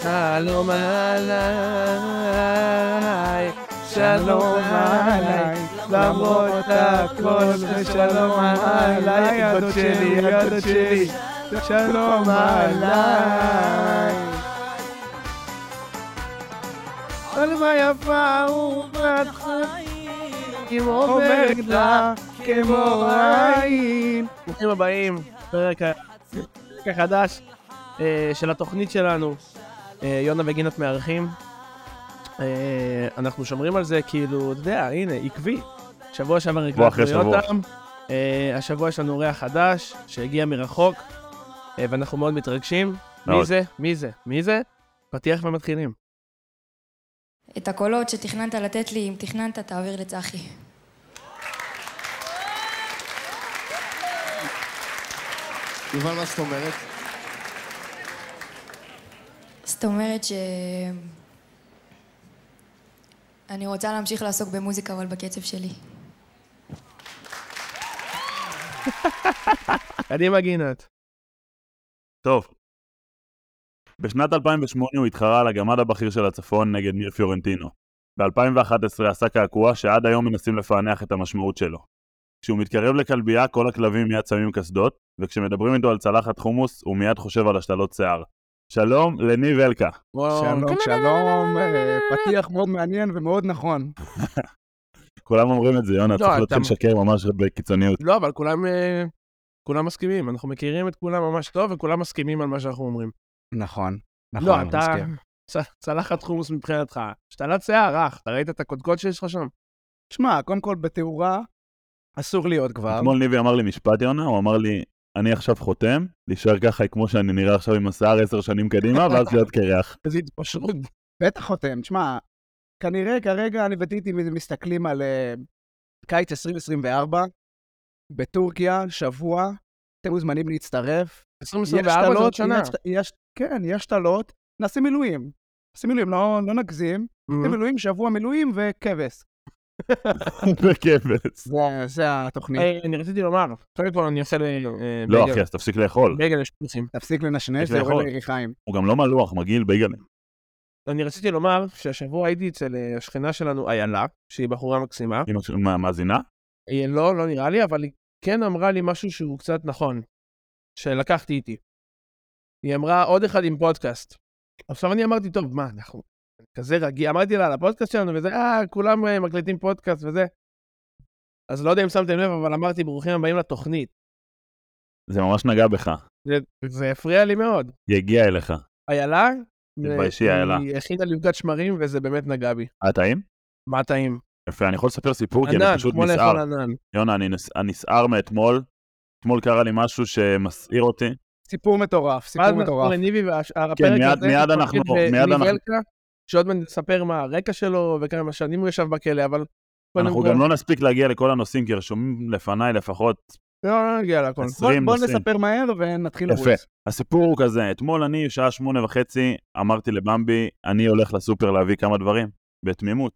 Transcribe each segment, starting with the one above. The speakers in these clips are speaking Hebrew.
שלום עליי, שלום עליי, למרות הכל, ושלום עליי, הדוד שלי, הדוד שלי, שלום עליי. עלמה יפה ובת חיים, עוברת לה כמו עין. ברוכים הבאים, פרק ה- הפרק החדש אה, של התוכנית שלנו, אה, יונה וגינת מארחים. אה, אנחנו שומרים על זה כאילו, אתה יודע, הנה, עקבי. שבוע שעבר אחרי הקלטנו שבוע. יותם. אה, השבוע יש לנו אורח חדש שהגיע מרחוק, אה, ואנחנו מאוד מתרגשים. מי מאוד. זה? מי זה? מי זה? פתיח ומתחילים. את הקולות שתכננת לתת לי, אם תכננת, תעביר לצחי. יובל, מה זאת אומרת? זאת אומרת ש... אני רוצה להמשיך לעסוק במוזיקה, אבל בקצב שלי. קדימה גינת. טוב. בשנת 2008 הוא התחרה על הגמד הבכיר של הצפון נגד ניר פיורנטינו. ב-2011 עשה קעקוע שעד היום מנסים לפענח את המשמעות שלו. כשהוא מתקרב לכלבייה כל הכלבים מיד שמים קסדות, וכשמדברים איתו על צלחת חומוס הוא מיד חושב על השתלות שיער. שלום לניב אלקה. וואו, שלום, שלום, אה, פתיח מאוד מעניין ומאוד נכון. כולם אומרים את זה, יונה, לא, צריך אתה- להתחיל לשקר ממש בקיצוניות. לא, אבל כולם, אה, כולם מסכימים, אנחנו מכירים את כולם ממש טוב, וכולם מסכימים על מה שאנחנו אומרים. נכון, נכון. לא, אני אתה מסכים. צ- צלחת חומוס מבחינתך. השתלת שיער, אח, אתה ראית את הקודקוד שיש לך שם? תשמע, קודם כל בתאורה אסור להיות כבר. אתמול ניבי אמר לי משפט, יונה, הוא אמר לי, אני עכשיו חותם, להישאר ככה כמו שאני נראה עכשיו עם השיער עשר שנים קדימה, ואז להיות קרח. איזו התפשרות. בטח חותם. תשמע, כנראה כרגע אני וטיטי מסתכלים על אה, קיץ 2024, בטורקיה, שבוע, אתם מוזמנים להצטרף. יש 2024 זה עוד תלות, שנה. יש- יש- כן, יש תלות, נעשה מילואים. נעשה מילואים, לא לא נגזים. Mm-hmm. נעשה מילואים, שבוע מילואים וכבש. וכבש. זה- זה התוכנית. אה, אני רציתי לומר, קודם כל אני עושה ל... אה, לא, בייגל- אחי, אז תפסיק לאכול. בייגל לשפוצים. תפסיק לנשנש, יש זה יורד לאכול. ליריחיים. הוא גם לא מלוח, מגעיל בייגלים. אני רציתי לומר שהשבוע הייתי אצל אה, השכנה שלנו, איילה, שהיא בחורה מקסימה. אמא של מה, מאזינה? אה, לא, לא נראה לי, אבל היא כן אמרה לי משהו שהוא קצת נכון, שלקחתי איתי. היא אמרה, עוד אחד עם פודקאסט. עכשיו אני אמרתי, טוב, מה, אנחנו כזה רגיל, אמרתי לה על הפודקאסט שלנו, וזה, אה, כולם אה, מקליטים פודקאסט וזה. אז לא יודע אם שמתם לב, אבל אמרתי, ברוכים הבאים לתוכנית. זה ממש נגע בך. זה, זה הפריע לי מאוד. היא הגיעה אליך. איילה, אה, תתביישי, איילה. היא הכינה לי עוגת שמרים, וזה באמת נגע בי. היה אה, טעים? מה טעים? יפה, אני יכול לספר סיפור, כי אני ענן, אוקיי, פשוט כמו נסער. לאכול ענן. יונה, אני נס- אני נסער מאתמול. אתמול קרה לי משהו שמסעיר אותי. סיפור מטורף, ואז סיפור מטורף. נחזור לניבי, והפרק כן, מיד- מיד אנחנו- מיד אנחנו- שעוד מעט נספר מה הרקע שלו וכמה שנים הוא ישב בכלא, אבל... קודם אנחנו כל- גם לא נספיק להגיע לכל הנושאים, כי רשומים לפניי לפחות לא, לא נגיע להכל. 20 בוא "כן." נושאים. נספר מהר ונתחיל יפה. לרוץ. הסיפור הוא כזה, אתמול אני, שעה שמונה וחצי, אמרתי לבמבי, אני הולך לסופר להביא כמה דברים, בתמימות.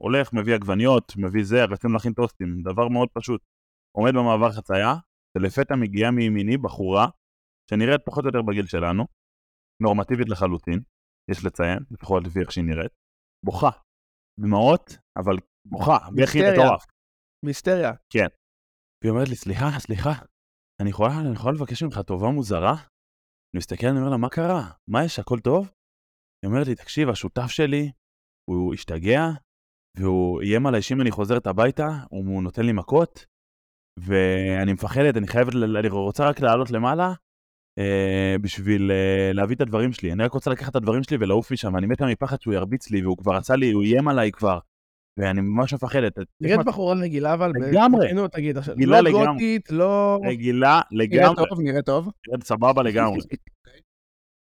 הולך, מביא עגבניות, מביא זה, רצינו להכין טוסטים, דבר מאוד פשוט. עומד במעבר חצייה, ולפתע מגיעה מימיני בחורה, שנראית פחות או יותר בגיל שלנו, נורמטיבית לחלוטין, יש לציין, לפחות לפי איך שהיא נראית, בוכה. דמעות, אבל בוכה, בכי היסטריה. מטורף. מיסטריה. והיא אומרת לי, סליחה, סליחה, אני יכולה, אני יכולה לבקש ממך טובה מוזרה? אני מסתכל, אני אומר לה, מה קרה? מה יש, הכל טוב? היא אומרת לי, תקשיב, השותף שלי, הוא השתגע, והוא איים עליי שאם אני חוזרת הביתה, הוא הוא נותן לי מכות, ואני מפחדת, אני חייבת, ל- אני רוצה רק לעלות למעלה. Uh, בשביל uh, להביא את הדברים שלי. אני רק רוצה לקחת את הדברים שלי ולעוף משם, ואני מתה מפחד שהוא ירביץ לי, והוא כבר עשה לי, הוא איים עליי כבר, ואני ממש מפחדת. נראית בחורה רגילה, אבל... לגמרי. נו, תגיד עכשיו. רגילה לא לגמרי. גותית, לא... רגילה נראה לגמרי. טוב, נראה טוב. כן, סבבה לגמרי.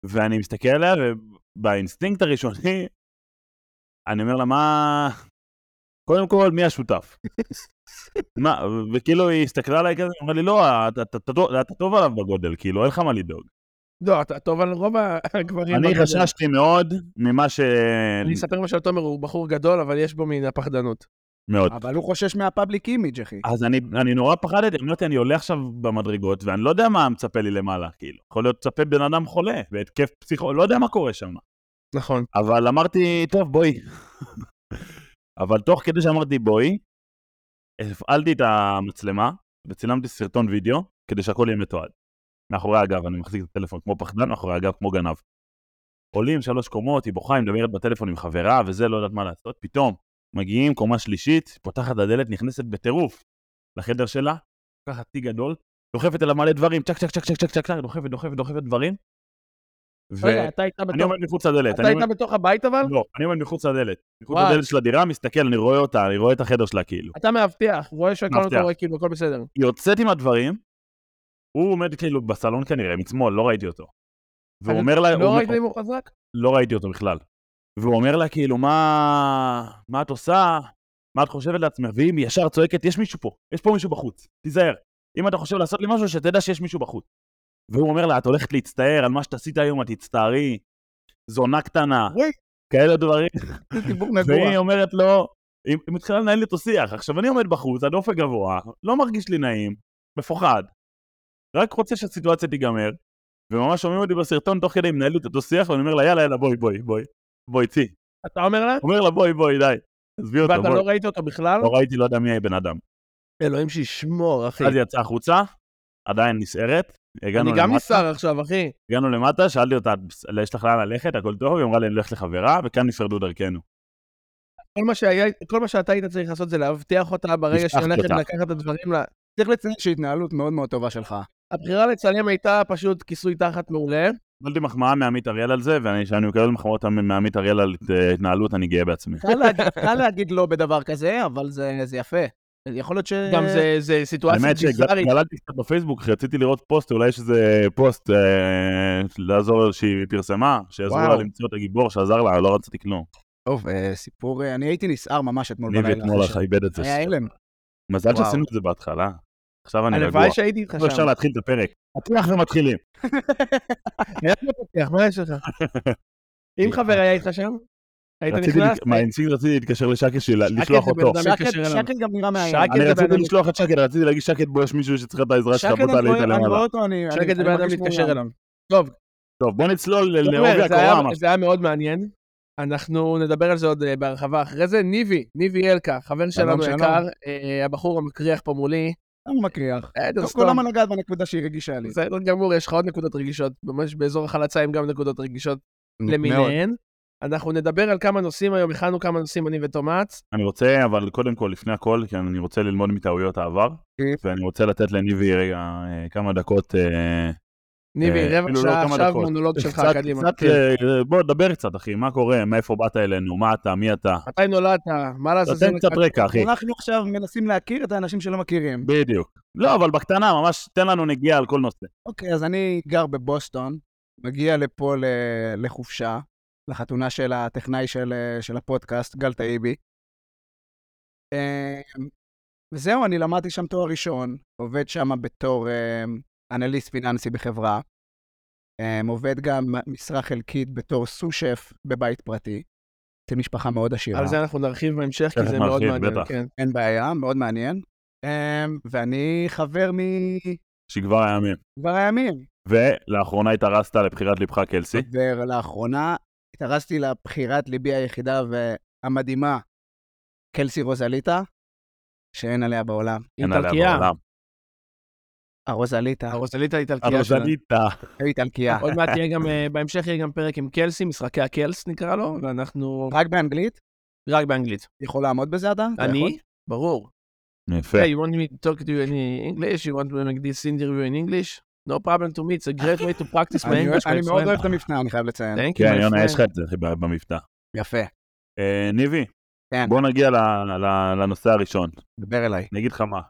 ואני מסתכל עליה, ובאינסטינקט הראשוני, אני אומר לה, מה... קודם כל, מי השותף? מה, ו- וכאילו היא הסתכלה עליי כזה, היא אמרה לי, לא, אתה- אתה- אתה טוב- אתה טוב עליו בגודל, כאילו, אין לך מה לדאוג. לא, אתה טוב על רוב הגברים. אני בגודל. חששתי מאוד ממה ש... אני אספר מה של תומר, הוא בחור גדול, אבל יש בו מן הפחדנות. מאוד. אבל הוא חושש מהפאבליק אימיג', אחי. אז אני, אני נורא פחדתי, אמרתי, אני עולה עכשיו במדרגות, ואני לא יודע מה מצפה לי למעלה, כאילו. יכול להיות מצפה בן אדם חולה, בהתקף פסיכו, לא יודע מה קורה שם. נכון. אבל אמרתי, טוב, בואי. אבל תוך כדי שאמרתי בואי, הפעלתי את המצלמה וצילמתי סרטון וידאו, כדי שהכל יהיה מתועד. מאחורי הגב, אני מחזיק את הטלפון כמו פחדן, מאחורי הגב כמו גנב. עולים שלוש קומות, היא בוכה, היא מדברת בטלפון עם חברה, וזה, לא יודעת מה לעשות. פתאום, מגיעים, קומה שלישית, פותחת את הדלת, נכנסת בטירוף לחדר שלה, לוקחת תיק גדול, דוחפת אליו מלא דברים, צ'ק, צ'ק, צ'ק, צ'ק, צ'ק, צ'ק, צ'ק, דוחפת, דוחפת, דוחפת דברים. רגע, ואני אתה היית בתוך- עומד מחוץ לדלת. אתה אני עומד- היית בתוך הבית אבל? לא, אני עומד מחוץ לדלת. מחוץ וואי. לדלת של הדירה, מסתכל, אני רואה אותה, אני רואה את החדר שלה כאילו. אתה מאבטח, רואה שהכל מאבטח. קורה, כאילו, הכל בסדר. היא יוצאת עם הדברים, הוא עומד כאילו בסלון כנראה, משמאל, לא ראיתי אותו. והוא אני- אומר לה, לא אה, הוא- ראית אם הוא חזק? לא ראיתי אותו בכלל. והוא אומר לה כאילו, מה, מה את עושה? מה את חושבת לעצמך? והיא ישר צועקת, יש מישהו פה, יש פה מישהו בחוץ, תיזהר. אם אתה חושב לעשות לי משהו, שתדע שיש מישהו בחוץ. והוא אומר לה, את הולכת להצטער על מה שאת עשית היום, את תצטערי, זונה קטנה, וואי. כאלה דברים. זה דיבור נגוע. והיא אומרת לו, היא היא מתחילה לנהל לי אותו שיח. עכשיו, אני עומד בחוץ, הדופק גבוה, לא מרגיש לי נעים, מפוחד, רק רוצה שהסיטואציה תיגמר, וממש שומעים אותי בסרטון תוך כדי מנהל לי את אותו שיח, ואני אומר לה, יאללה, יאללה, בואי, בואי, בואי, בואי, צאי. אתה אומר לה? אומר לה, בואי, בואי, די, עזבי אותו, ואתה בואי. לא ראית אותו בכלל? לא ראיתי, לא יודע מי הבן אדם. אלוהים שישמור, אחי. אוקיי. אז היא יצאה החוצה, עדיין נסערת, הגענו אני גם למטה. נסער עכשיו, אחי. הגענו למטה, שאלתי אותה, "את- יש לך לאן ללכת, הכל טוב, היא אמרה לי, אני הולך לחברה, וכאן נפרדו דרכנו. כל מה שהיה, כל מה שאתה היית צריך לעשות זה לאבטח אותה ברגע שהיא הבטחתי הולכת אותה. לקחת את הדברים לה. צריך לציין שהתנהלות מאוד מאוד טובה שלך. הבחירה לצלם הייתה פשוט כיסוי תחת מעולה. קיבלתי מחמאה מעמית אריאל על זה, וכשאני מקבל מחמאות מעמית אריאל על הת- התנהלות, אני גאה קל בעצמי. להגיד- קל להגיד לא בדבר כזה, אבל זה זה יפה. יכול להיות ש... גם זה- זה סיטואציה האמת ביזארית. שגללתי קצת בפייסבוק, רציתי לראות פוסט, אולי יש איזה פוסט אה, לעזור שהיא פרסמה, שיעזרו לה וואו. למצוא את הגיבור שעזר לה, לא רציתי כלום. טוב, אה, סיפור... אה, אני הייתי נסער ממש אתמול אני בלילה. ואתמול אחרי לך איבד את זה. ש- היה הלם. מזל וואו. שעשינו את זה בהתחלה. עכשיו אני רגוע. הלוואי שהייתי איתך עכשיו שם. אפשר להתחיל את הפרק. פתיח ומתחילים. היה מפתח, מה יש לך? אם חבר היה איתך שם, היית רציתי נכנס, לת- מה, האינסטינקט רציתי להתקשר לשקט שלי, שקט לשלוח זה בן אותו. אדם שקד- מתקשר אליו. שקד גם נראה מאיים. שקד אני זה בן רציתי אדם- לשלוח את שקט, רציתי להגיד שקט, בוא יש מישהו שצריך את העזרה שלך, שקד, בוא אני תעלה רואה- איתה אני רואה למעלה. אותו, אני... אני- שקט זה אני בן אדם מרגיש להתקשר מאוים. אליו. טוב, טוב, בוא נצלול ל- תומר, לעובי זה היה- הקורה. מה זה היה מאוד מעניין. אנחנו נדבר על זה עוד אה, בהרחבה אחרי זה. ניבי, ניבי אלקה, חבר שלנו שלום. יקר, אה, הבחור המקריח פה מולי. למה מקריח? לא, בסדר, לא טוב, סתום. כולם נגעת בנקודה שהיא רגישה לי. בסדר גמור, יש לך עוד נקודות רגישות. ממש באזור החלציים גם נקודות רגישות מאוד. למיניהן. אנחנו נדבר על כמה נושאים היום, הכנו כמה נושאים אני ותומץ. אני רוצה, אבל קודם כל, לפני הכל, כי אני רוצה ללמוד מטעויות העבר, ואני רוצה לתת לניבי רגע אה, כמה דקות. אה, ניבי, אה, רבע אפילו לא שעה כמה עכשיו דקות. מונולוג שלך קצת- קדימה. קצת, כן. אה, בוא, דבר קצת, אחי, מה קורה, מאיפה באת אלינו, מה אתה, מי אתה. מתי נולדת? מה לעזאזל? תן קצת רקע, אחי. אנחנו עכשיו מנסים להכיר את האנשים שלא מכירים. בדיוק. לא, אבל בקטנה, ממש תן לנו נגיעה על כל נושא. אוקיי, אז אני גר בבוסטון, מגיע לפה ל- לחופשה, לחתונה של הטכנאי של, אה, של הפודקאסט, גל טעיבי. אה, וזהו, אני למדתי שם תואר ראשון, עובד שם בתור אה, אנליסט פיננסי בחברה. אה, עובד גם משרה חלקית בתור סו-שף בבית פרטי, אצל משפחה מאוד עשירה. על זה אנחנו נרחיב בהמשך, כי תכף זה מאוד אה. נרחיב, מעניין. בטח. כן. אין בעיה, מאוד מעניין. אה, ואני חבר מכבר שכבר היה מי. הימים. ולאחרונה התארסת לבחירת לבך קלסי. אוקיי. ולאחרונה התארסתי לבחירת ליבי היחידה והמדהימה, קלסי רוזליטה, שאין עליה בעולם. אין עליה איטלקיה. בעולם. הרוזליטה, הרוזלית האיטלקיה שלנו. הרוזליטה. איטלקייה. עוד מעט יהיה גם, אה, בהמשך יהיה גם פרק עם קלסי, משחקי הקלס נקרא לו, ואנחנו רק באנגלית? רק באנגלית. יכול לעמוד בזה אתה? אתה יכול? אני? ברור. יפה. Hey, you want me to talk to you in uh, English? You want to make this interview in English? No problem to me, it's a great way to practice my אני English, אני my מאוד friend. אוהב את המבטא, אני חייב לציין. Thank you, כן, my יונה, יש לך friend. את זה, אחי, במבטא. יפה, אה, ניבי, כן. בוא נגיע ל- ל- לנושא הראשון. דבר אליי. אני אגיד לך מה.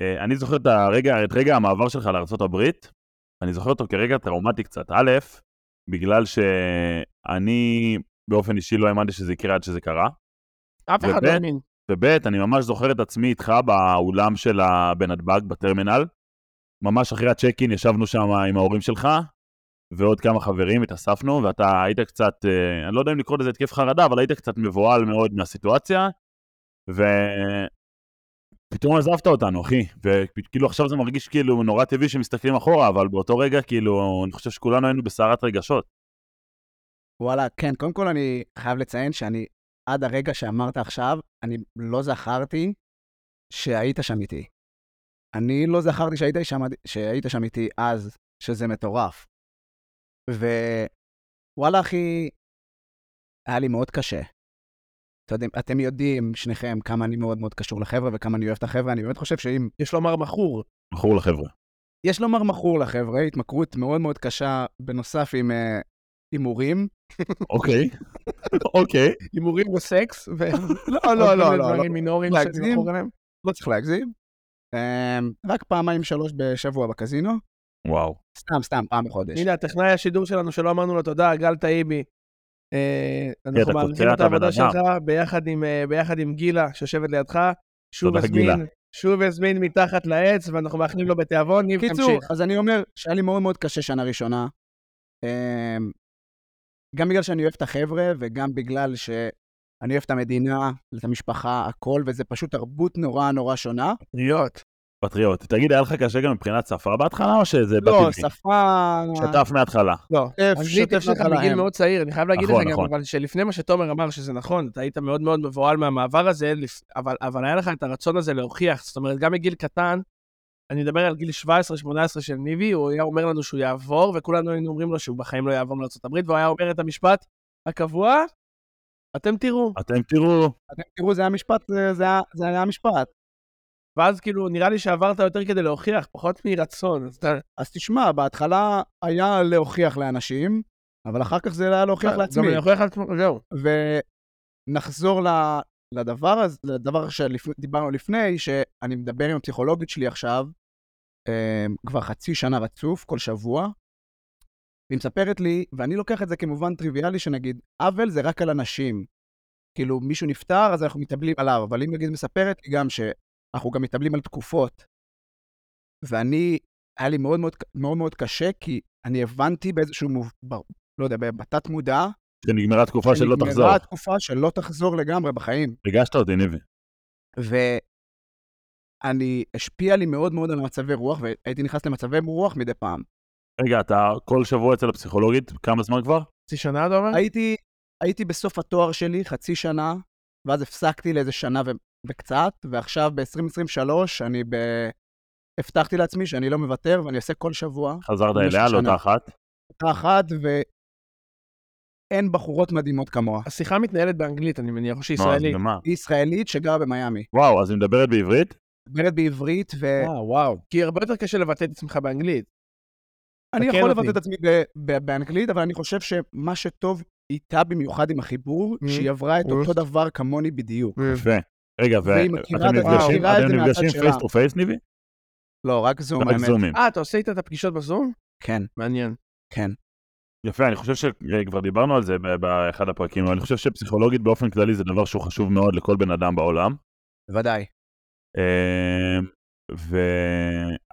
אה, אני זוכר את הרגע, את רגע המעבר שלך לארה"ב, אני זוכר אותו כרגע טראומטי קצת. א', בגלל שאני באופן אישי לא האמנתי שזה יקרה עד שזה קרה, אף אחד לא ובן? האמין. וב', אני ממש זוכר את עצמי איתך באולם של ה- בנתב"ג, בטרמינל. ממש אחרי הצ'ק אין ישבנו שם עם ההורים שלך, ועוד כמה חברים, התאספנו, ואתה היית קצת, אה, אני לא יודע אם לקרוא לזה התקף חרדה, אבל היית קצת מבוהל מאוד מהסיטואציה, ופתאום עזבת אותנו, אחי. וכאילו עכשיו זה מרגיש כאילו נורא טבעי שמסתכלים אחורה, אבל באותו רגע, כאילו, אני חושב שכולנו היינו בסערת רגשות. וואלה, כן, קודם כל אני חייב לציין שאני, עד הרגע שאמרת עכשיו, אני לא זכרתי שהיית שם איתי. אני לא זכרתי שהיית שם, שהיית שם איתי אז, שזה מטורף. ווואלה, אחי, היה לי מאוד קשה. אתם יודעים, אתם יודעים, שניכם, כמה אני מאוד מאוד קשור לחבר'ה וכמה אני אוהב את החבר'ה. אני באמת חושב שאם יש לומר מכור. מכור לחבר'ה. יש לומר מכור לחבר'ה, התמכרות מאוד מאוד קשה, בנוסף עם אה, הימורים. אוקיי. אוקיי. הימורים וסקס, ו... לא, לא, לא, לא, לא. דברים מינוריים להגזים. שאני מכור אליהם. לא צריך להגזים. אמ, רק פעמיים שלוש בשבוע בקזינו. וואו. סתם, סתם, פעם בחודש. הנה, הטכנאי השידור שלנו שלא אמרנו לו תודה, גל טעיבי. אה, אתה אנחנו מעריכים את קוטע את הבן העבודה אדם. שלך ביחד עם, אה, ביחד עם גילה שיושבת לידך. שוב תודה, גילה. הזמין, שוב הזמין מתחת לעץ, ואנחנו מאחלים לו בתיאבון. ניב, קיצור, תמשיך. אז אני אומר שהיה לי מאוד מאוד קשה שנה ראשונה. אמ, גם בגלל שאני אוהב את החבר'ה, וגם בגלל שאני אוהב את המדינה, את המשפחה, הכל, וזה פשוט תרבות נורא נורא שונה. פטריוט. פטריוט. תגיד, היה לך קשה גם מבחינת שפה בהתחלה, או שזה לא, בטבעי? שפה... שטף מההתחלה. לא, שטף, אז שטף לי תפסו אותך נחלה, מגיל אין. מאוד צעיר, אני חייב להגיד נכון, לך גם, נכון. אבל שלפני מה שתומר אמר, שזה נכון, אתה היית מאוד מאוד מבוהל מהמעבר הזה, לפ- אבל- אבל היה לך את הרצון הזה להוכיח, זאת אומרת, גם מגיל קטן, אני מדבר על גיל 17-18 של ניבי, הוא היה אומר לנו שהוא יעבור, וכולנו היינו אומרים לו שהוא בחיים לא יעבור לארה"ב, והוא היה אומר את המשפט הקבוע, אתם תראו. אתם תראו, אתם תראו, זה היה משפט, זה- זה היה- זה היה משפט. ואז כאילו, נראה לי שעברת יותר כדי להוכיח, פחות מרצון, אז אתה... אז תשמע, בהתחלה היה להוכיח לאנשים, אבל אחר כך זה היה להוכיח לעצמי. גם להוכיח לעצמך, זהו. ונחזור ל- לדבר הזה, לדבר שדיברנו לפני, שאני מדבר עם הפסיכולוגית שלי עכשיו, אמ, כבר חצי שנה רצוף, כל שבוע, והיא מספרת לי, ואני לוקח את זה כמובן טריוויאלי, שנגיד, עוול זה רק על אנשים. כאילו, מישהו נפטר, אז אנחנו מתאבלים עליו, אבל היא נגיד מספרת לי גם שאנחנו גם מתאבלים על תקופות. ואני, היה לי מאוד מאוד, מאוד מאוד קשה, כי אני הבנתי באיזשהו, מוב- ב- לא יודע, בתת מודע, שנגמרה תקופה שלא תחזור. שנגמרה התקופה שלא תחזור לגמרי בחיים. ריגשת אותי, ניבי. ואני, השפיע לי מאוד מאוד על מצבי רוח, והייתי נכנס למצבי רוח מדי פעם. רגע, אתה כל שבוע אצל הפסיכולוגית, כמה זמן כבר? חצי שנה, אתה אומר? הייתי, הייתי בסוף התואר שלי חצי שנה, ואז הפסקתי לאיזה שנה ו- וקצת, ועכשיו ב-2023 אני ב... הבטחתי לעצמי שאני לא מוותר, ואני עושה כל שבוע חזרת במשך אליה, שנה. לאותה אחת. אותה אחת, ואין בחורות מדהימות כמוה. השיחה מתנהלת באנגלית, אני מניח, או שהיא נו, אז ישראלית. במה? היא ישראלית שגרה במיאמי. וואו, אז היא מדברת בעברית? מדברת בעברית, ו... אה, וואו. כי הרבה יותר קשה לבטא את עצמך באנגלית. אני תקן יכול אותי. לבטא את עצמי ב- ב- באנגלית, אבל אני חושב שמה שטוב איתה במיוחד עם החיבור, Mm. שהיא עברה את Mm. אותו דבר כמוני בדיוק. יפה. רגע, והיא מכירה ואתם את- נפגשים- מכירה את אתם זה מהצד נפגשים שלה. פייס טו פייס, ניבי? לא, רק זום, רק האמת. זומים. אה, אתה עושה איתה את הפגישות בזום? כן, מעניין. כן. יפה, אני חושב שכבר דיברנו על זה ב- באחד הפרקים, אבל אני חושב שפסיכולוגית באופן כללי זה דבר שהוא חשוב מאוד לכל בן אדם בעולם. בוודאי. אמ,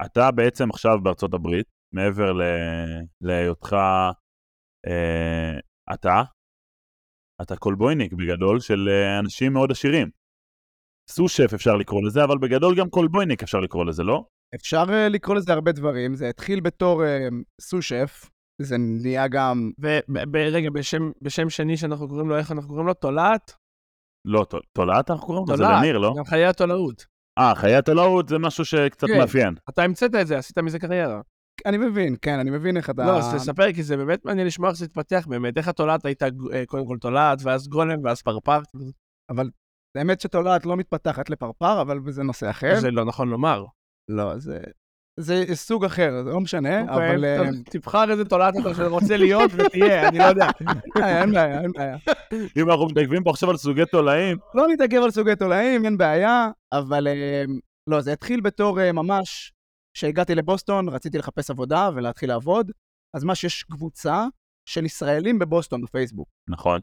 ואתה בעצם עכשיו בארצות הברית, מעבר ל- להיותך אה, אתה, אתה קולבויניק בגדול של אה, אנשים מאוד עשירים. סו שף אפשר לקרוא לזה, אבל בגדול גם קולבויניק אפשר לקרוא לזה, לא? אפשר אה, לקרוא לזה הרבה דברים. זה התחיל בתור אה, סו-שף, זה נהיה גם... ורגע, בשם, בשם שני שאנחנו קוראים לו, איך אנחנו קוראים לו? תולעת? לא, תול- תולעת אנחנו קוראים? לזה? זה תולעת. למיר, לא? גם חיי התולעות. אה, חיי התולעות זה משהו שקצת כן. מאפיין. אתה המצאת את זה, עשית מזה קריירה. אני מבין, כן, אני מבין איך אתה... לא, אז תספר, כי זה באמת מעניין לשמוע איך זה התפתח באמת. איך התולעת הייתה ג- אה, קודם כל תולעת, ואז גולם, ואז פרפר? האמת שתולעת לא מתפתחת לפרפר, אבל זה נושא אחר. זה לא נכון לומר. לא, זה... זה סוג אחר, זה לא משנה, אוקיי, אבל... אה, טוב, תבחר איזה תולעת אתה שרוצה להיות ותהיה, אני לא יודע. אין בעיה, אין בעיה. אם אנחנו מתעכבים פה עכשיו על סוגי תולעים, לא נתעכב על סוגי תולעים, אין בעיה, אבל אה, לא, זה התחיל בתור אה, ממש, כשהגעתי לבוסטון, רציתי לחפש עבודה ולהתחיל לעבוד, אז מה שיש קבוצה של ישראלים בבוסטון בפייסבוק, נכון,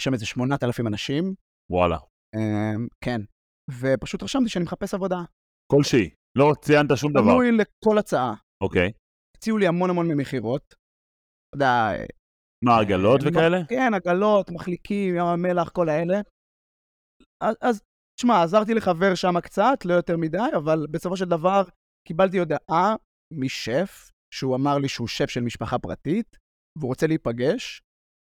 יש שם איזה 8,000 אנשים, וואלה, אה, כן, ופשוט רשמתי שאני מחפש עבודה. כלשהי, לא ציינת שום דבר, פנו לי לכל הצעה, אוקיי. הציעו לי המון המון ממכירות. אתה יודע, אה, מה, לא- עגלות אה, וכאלה? כן, עגלות, מחליקים, ים המלח, כל האלה. אז, אז תשמע, עזרתי לחבר שם קצת, לא יותר מדי, אבל בסופו של דבר קיבלתי הודעה משף, שהוא אמר לי שהוא שף של משפחה פרטית, והוא רוצה להיפגש.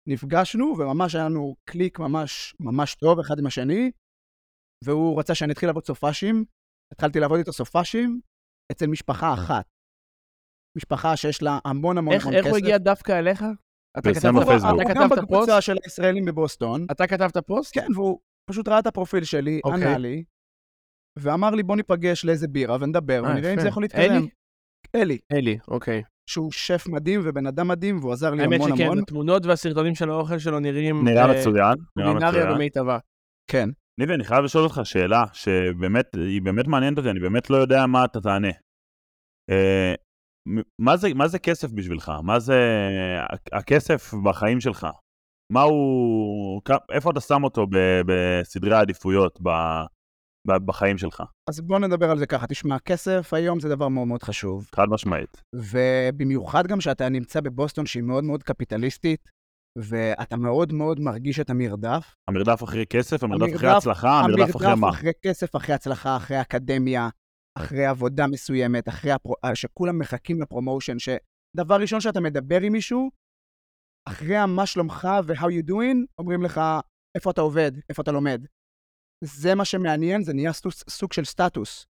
נפגשנו, וממש היה לנו קליק ממש ממש טוב אחד עם השני, והוא רצה שאני אתחיל לעבוד סופאשים. התחלתי לעבוד איתו סופאשים אצל משפחה אחת. משפחה שיש לה המון המון איך המון איך כסף. הוא הגיע דווקא אליך? פרסם כתבת- אתה בפייסבוק. הוא גם כתבת פוסט? בקבוצה של הישראלים בבוסטון. אתה כתבת פוסט? כן, והוא פשוט ראה את הפרופיל שלי, אוקיי. ענה לי, ואמר לי, בוא ניפגש לאיזה בירה ונדבר, אה, ונראה לא אם יפה. זה יכול להתקדם. אלי? אלי, אלי, אוקיי. שהוא שף מדהים ובן אדם מדהים, והוא עזר לי האמת המון שכן, המון. התמונות והסרטונים של האוכל שלו נראים... נראה אה, מצוין, נראה קולינריה מצוין. במיטבה. כן. ניבי, אני חייב לשאול אותך שאלה שבאמת, היא באמת מעניינת אותי, אני באמת לא יודע מה אתה תענה. אה, מ- מה זה, מה זה כסף בשבילך? מה זה הכ- הכסף בחיים שלך? מה הוא... כ- איפה אתה שם אותו ב- בסדרי העדיפויות ב- ב- בחיים שלך? אז בוא נדבר על זה ככה, תשמע, כסף היום זה דבר מאוד מאוד חשוב, חד משמעית. ובמיוחד גם שאתה נמצא בבוסטון שהיא מאוד מאוד קפיטליסטית, ואתה מאוד מאוד מרגיש את המרדף. המרדף אחרי כסף, המרדף אחרי המרדף- הצלחה, המרדף אחרי מה? אחרי כסף, אחרי הצלחה, אחרי אקדמיה, אחרי עבודה מסוימת, אחרי הפרו... אה, שכולם מחכים לפרומושן, שדבר ראשון שאתה מדבר עם מישהו, אחרי ה"מה שלומך" ו-how you doing, אומרים לך, איפה אתה עובד, איפה אתה לומד. זה מה שמעניין, זה נהיה סטוס, סוג של סטטוס.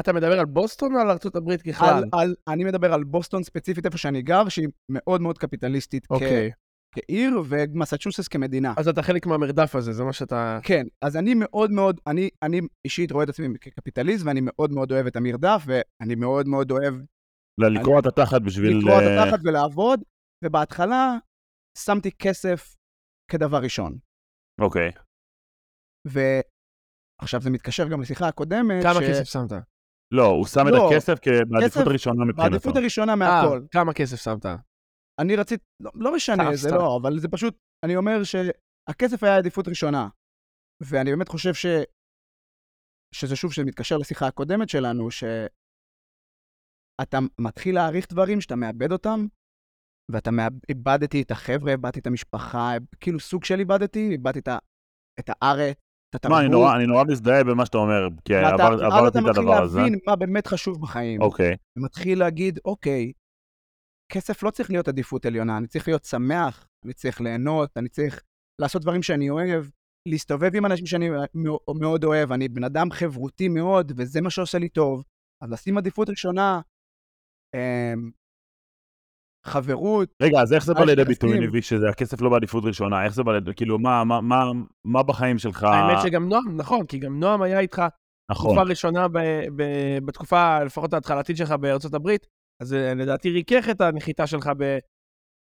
אתה מדבר על בוסטון או על ארצות הברית ככלל? על, על, אני מדבר על בוסטון ספציפית, איפה שאני גר, שהיא מאוד מאוד קפיטליסטית okay. אוקיי. כעיר, ומסצ'וסטס כמדינה. אז אתה חלק מהמרדף הזה, זה מה שאתה... כן, אז אני מאוד מאוד, אני, אני אישית רואה את עצמי כקפיטליסט, ואני מאוד מאוד אוהב את המרדף, ואני מאוד מאוד אוהב לקרוע את התחת בשביל... לקרוע את אה, התחת ולעבוד, ובהתחלה שמתי כסף כדבר ראשון. אוקיי. ועכשיו זה מתקשר גם לשיחה הקודמת, כמה כן, ש- כסף שמת? לא, הוא שם את לא, הכסף כבעדיפות כסף- ראשונה מבחינתו. בעדיפות הראשונה אה, מהכל. כמה כסף שמת? אה. אני רציתי, לא, לא משנה, סתם, זה סתם. לא, אבל זה פשוט, אני אומר שהכסף היה עדיפות ראשונה. ואני באמת חושב ש... שזה שוב, שמתקשר לשיחה הקודמת שלנו, שאתה מתחיל להעריך דברים, שאתה מאבד אותם, ואתה מאב... איבדתי את החבר'ה, איבדתי את המשפחה, כאילו סוג של איבדתי, איבדתי את, ה... את הארץ, את התרבות. מה, לא, אני נורא- אני נורא מזדהה במה שאתה אומר, כי ואתה- עבר- ואז עברתי אתה את מתחיל הדבר הזה. להבין מה באמת חשוב בחיים. אוקיי. ומתחיל להגיד, אוקיי, כסף לא צריך להיות עדיפות עליונה, אני צריך להיות שמח, אני צריך ליהנות, אני צריך לעשות דברים שאני אוהב, להסתובב עם אנשים שאני מאו- מאוד אוהב, אני בן אדם חברותי מאוד, וזה מה שעושה לי טוב. אז לשים עדיפות ראשונה, אמ, חברות, רגע, אז איך זה בא היחסים. לידי ביטוי, ניבי, שזה הכסף לא בעדיפות ראשונה? איך זה בא לידי... כאילו, מה, מה, מה, מה בחיים שלך... האמת שגם נועם, נכון, כי גם נועם היה איתך נכון. תקופה ראשונה ב- ב- בתקופה, לפחות ההתחלתית שלך בארצות הברית, אז אה, לדעתי ריכך את הנחיתה שלך בנועם,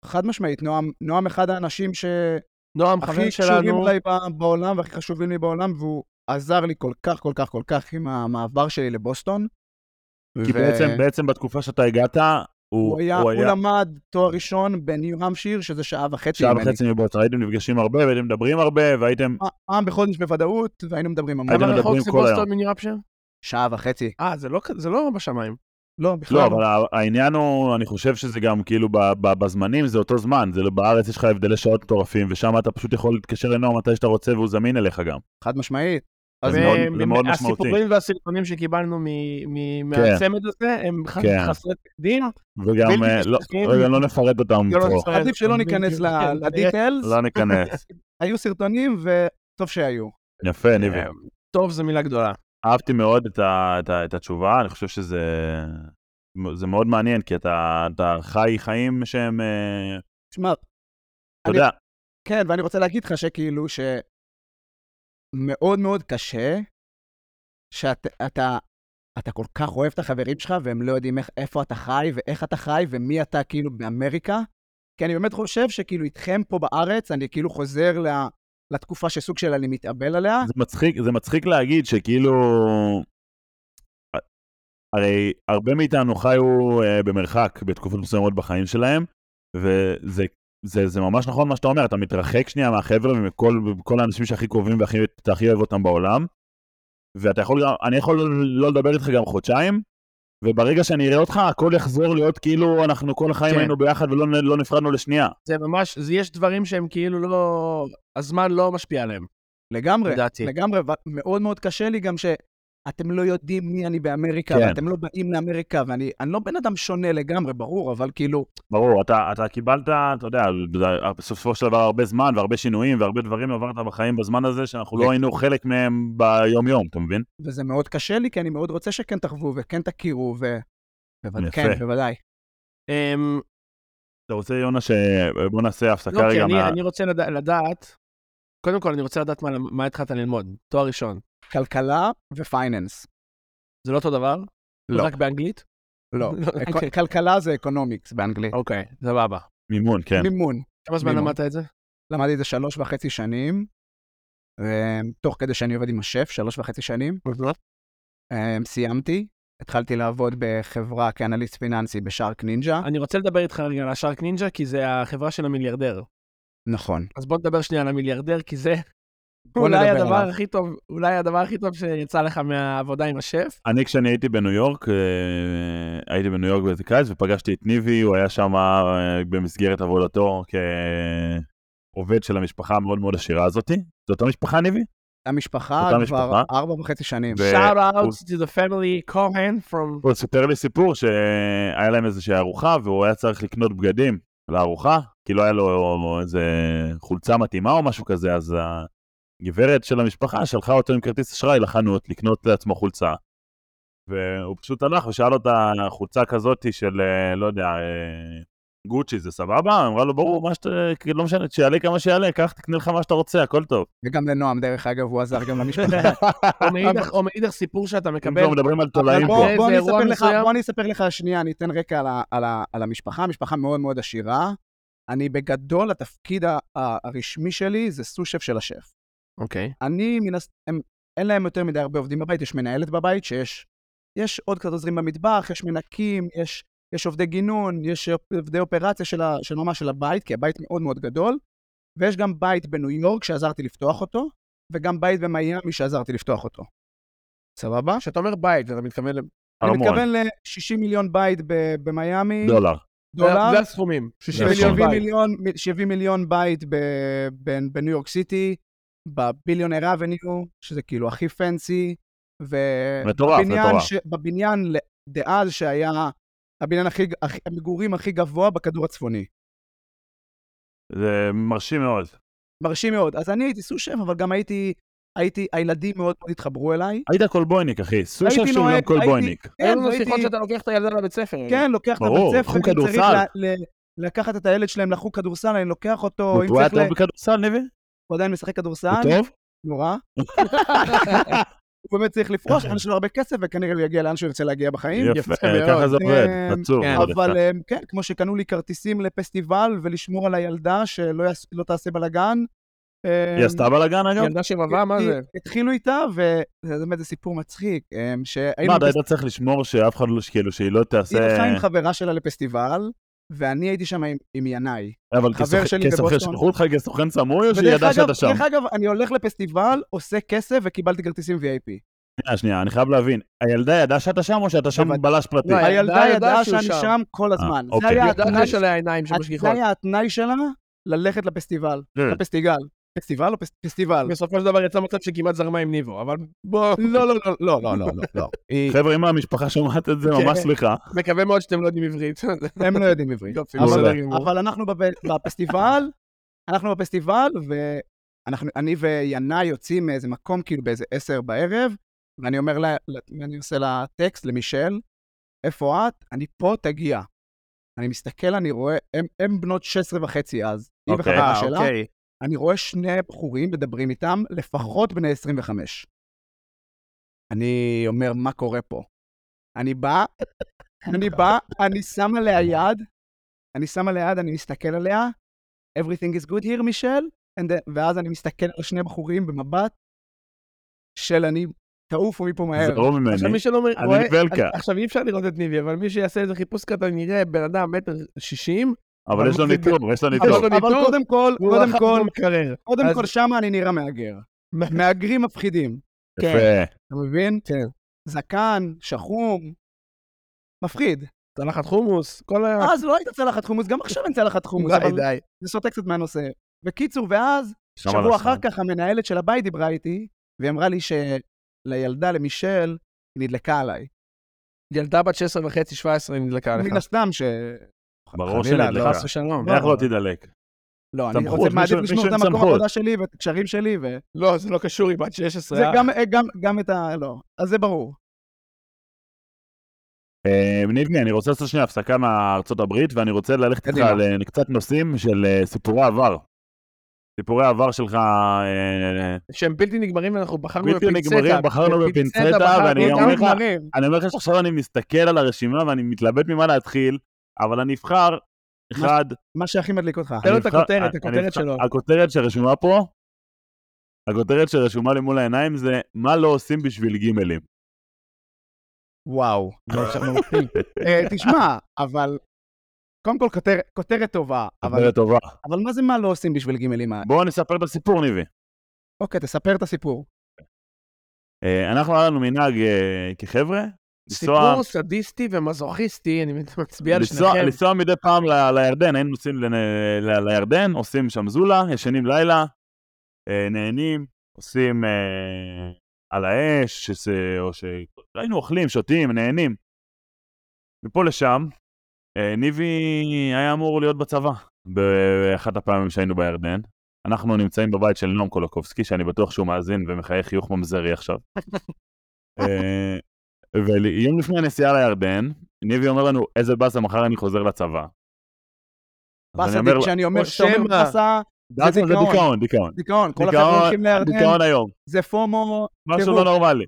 חד משמעית, נועם, נועם אחד האנשים שהכי חבר קשורים שלנו. לי ב- בעולם והכי חשובים לי בעולם, והוא עזר לי כל כך, כל כך, כל כך עם המעבר שלי לבוסטון. כי ו- בעצם, בעצם בתקופה שאתה הגעת, הוא, הוא היה, הוא למד תואר ראשון בניו-המפשיר, שזה שעה וחצי שעה ממני. וחצי מבוץ, הייתם נפגשים הרבה, והייתם מדברים הרבה, והייתם... פ- פעם בחודש בוודאות, והיינו מדברים המון. הייתם כמה רחוק מדברים זה כל בוסטון היום. מניו-אפשר? שעה וחצי. אה, זה לא כ- זה לא בשמיים. לא, בכלל לא, אבל ה- העניין הוא, אני חושב שזה גם כאילו ב, ב, בזמנים, זה אותו זמן, זה לא- בארץ יש לך הבדלי שעות מטורפים, ושם אתה פשוט יכול להתקשר לנועם מתי שאתה רוצה, והוא זמין אליך גם. חד משמעית. אז זה מאוד- והם- זה מאוד הם- משמעותי. הסיפורים והסרטונים שקיבלנו מ- מ- מהצמד הזה, הם ח- כן. חסרי תקדים. וגם, בלתי אה, לא, משתכנעים. רגע, לא נפרט אותם לא פה, נפרט. עדיף שלא ניכנס בדיוק, ל- כן, לדיטיילס, לא ניכנס. היו סרטונים, וטוב שהיו. יפה, ניבי. אה, טוב זו מילה גדולה. אהבתי מאוד את, ה, את, ה, את התשובה, אני חושב שזה זה מאוד מעניין, כי אתה, אתה חי חיים שהם, אה, תשמע, אתה אני- יודע, כן, ואני רוצה להגיד לך שכאילו, שמאוד מאוד קשה, שאתה אתה, אתה כל כך אוהב את החברים שלך, והם לא יודעים איך, איפה אתה חי, ואיך אתה חי, ומי אתה כאילו באמריקה. כי אני באמת חושב שכאילו איתכם פה בארץ, אני כאילו חוזר ל, לתקופה שסוג של אני מתאבל עליה. זה מצחיק, זה מצחיק להגיד שכאילו, הרי הרבה מאיתנו חיו אה, במרחק בתקופות מסוימות בחיים שלהם, וזה זה, זה ממש נכון מה שאתה אומר, אתה מתרחק שנייה מהחבר'ה ומכל כל האנשים שהכי קרובים והכי אתה הכי אוהב אותם בעולם, ואתה יכול, גם- אני יכול לא לדבר איתך גם חודשיים, וברגע שאני אראה אותך, הכל יחזור להיות כאילו אנחנו כל החיים כן. היינו ביחד ולא נ- לא נפרדנו לשנייה. זה ממש, זה- יש דברים שהם כאילו לא, הזמן לא משפיע עליהם. לגמרי, לדעתי. לגמרי, ומאוד מאוד קשה לי גם שאתם לא יודעים מי אני באמריקה, כן. ואתם לא באים לאמריקה, ואני אני לא בן אדם שונה לגמרי, ברור, אבל כאילו, ברור, אתה, אתה קיבלת, אתה יודע, בסופו של דבר הרבה זמן והרבה שינויים והרבה דברים עברת בחיים בזמן הזה, שאנחנו לא היינו חלק מהם ביום-יום, אתה מבין? וזה מאוד קשה לי, כי אני מאוד רוצה שכן תחוו וכן תכירו, ו... בוודאי, יפה. כן, בוודאי. אמ, אתה רוצה, יונה, שבוא נעשה הפסקה לא, כי רגע אני- מה... אני רוצה לדע- לדעת, קודם כל אני רוצה לדעת מה- מה התחלת ללמוד, תואר ראשון. כלכלה ופייננס. זה לא אותו דבר? לא. רק באנגלית? לא, לא, אקו- אוקיי. כלכלה זה אקונומיקס באנגלית. אוקיי, סבבה. מימון, כן. מימון. כמה זמן מימון. למדת את זה? למדתי את זה שלוש וחצי שנים, אמ, תוך כדי שאני עובד עם השף, שלוש וחצי שנים. אמ, סיימתי, התחלתי לעבוד בחברה כאנליסט פיננסי בשארק נינג'ה. אני רוצה לדבר איתך רגע על השארק נינג'ה, כי זה החברה של המיליארדר. נכון. אז בוא נדבר שנייה על המיליארדר, כי זה בוא אולי נדבר הדבר עליו. הכי טוב, אולי הדבר הכי טוב שיצא לך מהעבודה עם השף. אני כשאני הייתי בניו יורק, אה, הייתי בניו יורק באיזה קיץ ופגשתי את ניבי, הוא היה שם אה, במסגרת עבודתו כעובד של המשפחה המאוד מאוד עשירה הזאתי. זו אותה משפחה, ניבי? המשפחה אותה כבר משפחה. ארבע וחצי שנים. ו- Shout out הוא- to the family Cohen from... הוא סיפר לי סיפור שהיה להם איזושהי ארוחה והוא היה צריך לקנות בגדים לארוחה, כי לא היה לו איזה חולצה מתאימה או משהו כזה, אז הגברת של המשפחה שלחה אותו עם כרטיס אשראי לחנות לקנות לעצמו חולצה. והוא פשוט הלך ושאל אותה, חולצה כזאת של, אה, לא יודע, אה, גוצ'י זה סבבה? אמרה לו, ברור, מה שאתה, כאילו, לא משנה, שיעלה כמה שיעלה, קח, תקנה לך מה שאתה רוצה, הכל טוב. וגם לנועם, דרך אגב, הוא עזר גם למשפחה. או מאידך- או מאידך סיפור שאתה אם מקבל. כבר מדברים על תולעים בוא, פה. זה בוא, אני אירוע אספר לך, מסוים? בוא אני אספר לך שנייה, אני אתן רקע על, ה, על, ה, על המשפחה, משפחה מאוד מאוד עשירה. אני בגדול, התפקיד ה, ה, הרשמי שלי זה סו-שף של השף. אוקיי. אני, מן הס... הם, אין להם יותר מדי הרבה עובדים בבית, יש מנהלת בבית שיש יש עוד קצת עוזרים במטבח, יש מנקים, יש, יש עובדי גינון, יש עובדי אופרציה של, ה, של ממש של הבית, כי הבית מאוד מאוד גדול, ויש גם בית בניו יורק שעזרתי לפתוח אותו, וגם בית במיאמי שעזרתי לפתוח אותו. סבבה? כשאתה אומר בית, אתה מתכוון... ל- אני ארמון, מתכוון ל-60 מיליון בית ב- במיאמי, דולר. זה דולר, הסכומים. 60 נכון. מיליון 70 בית. מיליון, 70 מיליון בית ב- ב- בניו יורק סיטי, בביליונר אבניו, שזה כאילו הכי פנסי, מטורף, מטורף. ובבניין דאז שהיה הבניין הכי, הכי, המגורים הכי גבוה בכדור הצפוני. זה מרשים מאוד. מרשים מאוד. אז אני הייתי סו-שף, אבל גם הייתי, הייתי, הילדים מאוד מאוד התחברו אליי. היית כלבויניק, אחי. סושה הייתי שהוא גם נוהג, כלבויניק. אין כן, לנו והייתי- שיחות שאתה לוקח את הילדה לבית ספר. כן, לוקח את ברור, הבית ספר, חוג אם צריך כדורסל. ל- ל- לקחת את הילד שלהם לחוג כדורסל, אני לוקח אותו, אם הוא היה צריך, ל- טוב בכדורסל, ניבי? הוא עדיין משחק כדורסל, הוא טוב? נורא. הוא באמת צריך לפרוש, אוקיי. אין לו הרבה כסף, וכנראה הוא יגיע לאן שהוא ירצה להגיע בחיים. יפה, יפה מאוד. ככה זה עובד, אה, עצוב. כן, מאוד אבל יפה. אה, כן, כמו שקנו לי כרטיסים לפסטיבל ולשמור על הילדה שלא יעש- לא תעשה בלאגן. אה, היא עשתה בלאגן אגב? ילדה שמבה, מה זה? התחילו איתה, וזה באמת זה סיפור מצחיק, אה, שהיינו מה, אתה היית צריך לשמור שאף אחד לא, כאילו, שהיא לא תעשה... היא הלכה עם חברה שלה לפסטיבל, ואני הייתי שם עם, עם ינאי. אבל חבר כסוכן- שלי כסוכן בבוסטון. שלחו אותך כסוכן סמוי או שהיא ודרך ידעה אגב, שאתה שם? דרך אגב, אני הולך לפסטיבל, עושה כסף וקיבלתי כרטיסים VIP. שנייה, אה, שנייה, אני חייב להבין. הילדה ידעה שאתה שם או שאתה שם בוודאי. בלש פרטי? לא, הילדה ידעה הילדה ידעה שהוא שאני שם. שם כל הזמן. זה אוקיי. היה היא ידעה התנאי ידעה שלה, שלה עיניים אה, זה שמשגיחות. היה התנאי שלה ללכת לפסטיבל. כן. לפסטיגל. פסטיבל או פס- פסטיבל? בסופו של דבר יצא מצב שכמעט זרמה עם ניבו, אבל בוא, לא, לא, לא, לא, לא, לא, לא, לא. היא- חבר'ה, אם המשפחה שומעת את זה, כן. ממש סליחה. מקווה מאוד שאתם לא יודעים עברית. הם לא יודעים עברית. יופי, אבל- מעולה. אבל אנחנו בב- בפסטיבל, אנחנו בפסטיבל, ואני וינאי יוצאים מאיזה מקום, כאילו באיזה עשר בערב, ואני אומר לה, לה- אני עושה לה טקסט למישל, איפה את? אני פה, תגיע. אני מסתכל, אני רואה, הם- הם בנות 16 וחצי אז, היא אוקיי. וחברה אה, שלה, אני רואה שני בחורים מדברים איתם, לפחות בני 25. אני אומר, מה קורה פה? אני בא, אני בא, אני שם עליה יד, אני שם עליה יד, אני מסתכל עליה, everything is good here, מישל, and then- ואז אני מסתכל על שני בחורים במבט של אני, תעופו מפה מהר. זרום עכשיו לא ממני. מי שלא מ- אני רואה, ולקה. עכשיו אי אפשר לראות את ניבי, אבל מי שיעשה איזה חיפוש קטן יראה בן אדם מטר שישים, אבל יש לו אבל- ניטור, יש לו אבל- ניטור. אבל טוב. אבל קודם כל, קודם כל, מקרר. קודם אז- כל, שמה אני נראה מהגר. מהגרים מפחידים. כן. יפה. אתה מבין? כן. זקן, שחום, מפחיד. צלחת חומוס, כל אה, ה... אז לא הייתה צלחת חומוס, גם עכשיו אין צלחת חומוס, די, אבל די. זה סוטה קצת מהנושא. בקיצור, ואז שם על שבוע השולחן. אחר כך המנהלת של הבית דיברה איתי, והיא אמרה לי שלילדה, למישל, היא נדלקה עליי. ילדה בת 16 וחצי, 17, היא נדלקה מן לך. הסתם ש... ברור חלילה, שנדלקה. לא. חס ושלום. איך לא תדלק? לא, אני סמכות, רוצה מעדיף מישהו- לשמור את מישהו עם המקום סמכות. העבודה שלי ואת הקשרים שלי, ו... לא, זה לא קשור, היא בת 16. זה אה? גם, גם, גם את ה... לא. אז זה ברור. אה, ניבני, אני רוצה לעשות שנייה הפסקה מארצות הברית, ואני רוצה ללכת איתך קדימה. על אה, קצת נושאים של אה, סיפורי עבר. סיפורי העבר שלך אה, שהם בלתי נגמרים ואנחנו בחרנו בלתי בפינצטה. נגמרים, בחרנו בפינצטה, בחרנו אה, ואני גם אותם אומר לך- נגמרים. אני אומר לך שעכשיו אני מסתכל על הרשימה ואני מתלבט ממה להתחיל, אבל אני אבחר אחד... מה שהכי מדליק אותך. לא תן לו אני את אבחר- הכותרת, אני הכותרת אבחר- שלו. הכותרת שרשומה פה, הכותרת שרשומה לי מול העיניים זה מה לא עושים בשביל גימלים. לא. וואו. אה, תשמע, אבל... קודם כל, כותר, כותרת טובה, אבל, כותרת טובה. אבל מה זה מה לא עושים בשביל גימלים? האלה? בואו נספר את הסיפור, ניבי. אוקיי, תספר את הסיפור. אה, אנחנו היה לנו מנהג אה, כחבר'ה, לנסוע סיפור סדיסטי ומזוכיסטי, אני מצביע על לנסוע- שניכם. לנסוע מדי פעם ל- לירדן, היינו נוסעים ל- ל- לירדן, עושים שם זולה, ישנים לילה, אה, נהנים, עושים אה, על האש, שזה- או ש... היינו אוכלים, שותים, נהנים. מפה לשם, אה, ניבי היה אמור להיות בצבא באחת הפעמים שהיינו בירדן. אנחנו נמצאים בבית של נועם קולקובסקי, שאני בטוח שהוא מאזין ומחייך חיוך ממזרי עכשיו. אה, ויום לפני הנסיעה לירדן, ניבי אומר לנו, איזה באסה, מחר אני חוזר לצבא. אז אני באסה, אומר לו, כשאני אומר או שאתה אומר שמא. באסה, באסה זה דיכאון. כן. דיכאון, דיכאון. דיכאון, כל דיכאון- החברים הולכים לירדן, דיכאון היום, זה פומו, משהו טירוף. לא נורמלי.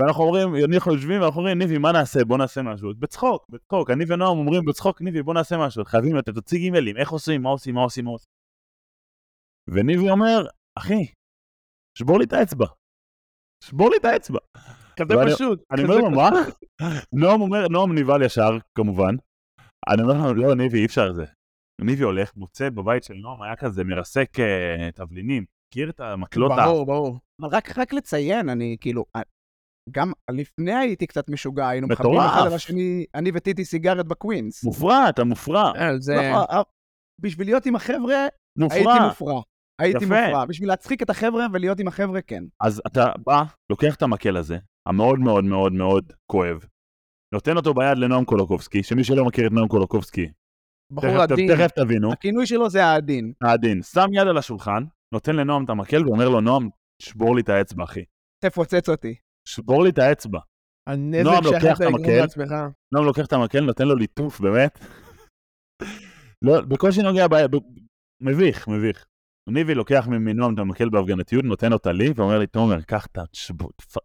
ואנחנו אומרים, אנחנו יושבים ואנחנו אומרים, ניבי, מה נעשה? בוא נעשה משהו. בצחוק, בצחוק. אני ונועם אומרים, בצחוק, ניבי, בוא נעשה משהו. חייבים לתת, תוציא גימלים, איך עושים, מה עושים, מה עושים, מה עושים. וניבי אומר, אחי, שבור לי את האצבע. שבור לי את האצבע. כזה ואני- פשוט. אני כזה אומר לו, מה? נועם אומר, נועם נבהל ישר, כמובן. אני אומר לו, לא, ניבי, אי אפשר זה. ניבי הולך, מוצא בבית של נועם, היה כזה מרסק אה, תבלינים. מכיר את המקלות? ה- ברור, ברור. אבל רק, רק לציין, אני כאילו, אה, גם לפני הייתי קצת משוגע, היינו מטורף. מחברים אחד על השני, אני וטיטי סיגרת בקווינס. מופרע, אתה מופרע. אה, זה... לא, נכון, אה, אה, בשביל להיות עם החבר'ה, הייתי מופרע. מופרע. הייתי יפה. מופרע. בשביל להצחיק את החבר'ה ולהיות עם החבר'ה, כן. אז אתה בא, לוקח את המקל הזה, המאוד מאוד מאוד מאוד כואב, נותן אותו ביד לנועם קולוקובסקי, שמי שלא מכיר את נועם קולוקובסקי, בחור תכף, עדין. תכף תבינו, הכינוי שלו זה העדין. העדין, שם יד על השולחן, נותן לנועם את המקל ואומר לו, נועם, שבור לי את האצבע, אחי. תפוצץ אותי. שבור לי את האצבע. נועם הנזק לוקח שיכולת את לגרום המקל. לעצמך. נועם לוקח את המקל, נותן לו ליטוף, באמת. לא, בקושי נוגע ב... ב... מביך, מביך. ניבי לוקח מנועם את המקל בהפגנתיות, נותן אותה לי, ואומר לי, תומר, קח את ה... תשבור- תפ-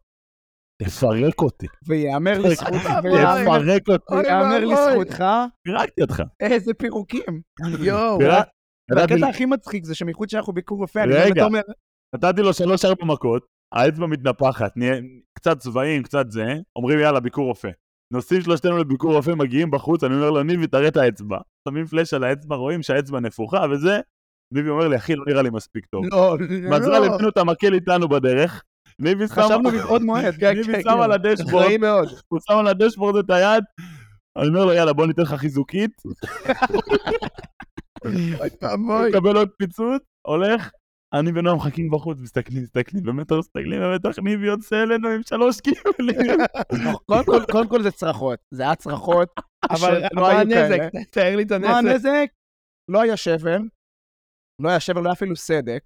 תפרק אותי. ויאמר אוי, לזכות- אוקיי. ויאמר- תפרק אותי. ויאמר אוי ואבוי. לזכותך, פירקתי אותך. איזה פירוקים. יואו. פירק- נתתי- והקטע אה, הכי מצחיק זה שמחוץ שאנחנו ביקור רופא, אני רגע. אומר לתומר, נתתי לו שלוש-ארבע מכות, האצבע מתנפחת, נהיה קצת צבעים, קצת זה, אומרים יאללה, ביקור רופא. נוסעים שלושתנו לביקור רופא, מגיעים בחוץ, אני אומר לו, ניבי, תראה את האצבע. שמים פלאש על האצבע, רואים שהאצבע נפוחה וזה, ניבי אומר לי, אחי, לא נראה לי מספיק טוב. לא, מזל, לא. הבינו את המקל איתנו בדרך, ניבי שם... חשבנו מבעוד מועד. כן, כן, ניבי כן. שם על הדשבורד, אחראי מאוד. הוא שם על הדשבורד את היד, אני אומר לו, יאללה, בוא ניתן לך חיזוקית, אבוי. מקבל עוד פיצוץ, הולך, אני ונועם מחכים בחוץ, מסתכלים, מסתכלים, במטר מסתכלים, במטר ניבי יוצא אלינו עם שלוש קיבלים. אה, קודם כל- קודם כל זה צרחות. זה היה צרחות, אבל שלא מה לא היו כאלה. הנזק? תאר לי את מה הנזק. הנזק? לא היה שבר, לא היה שבר, לא היה אפילו סדק.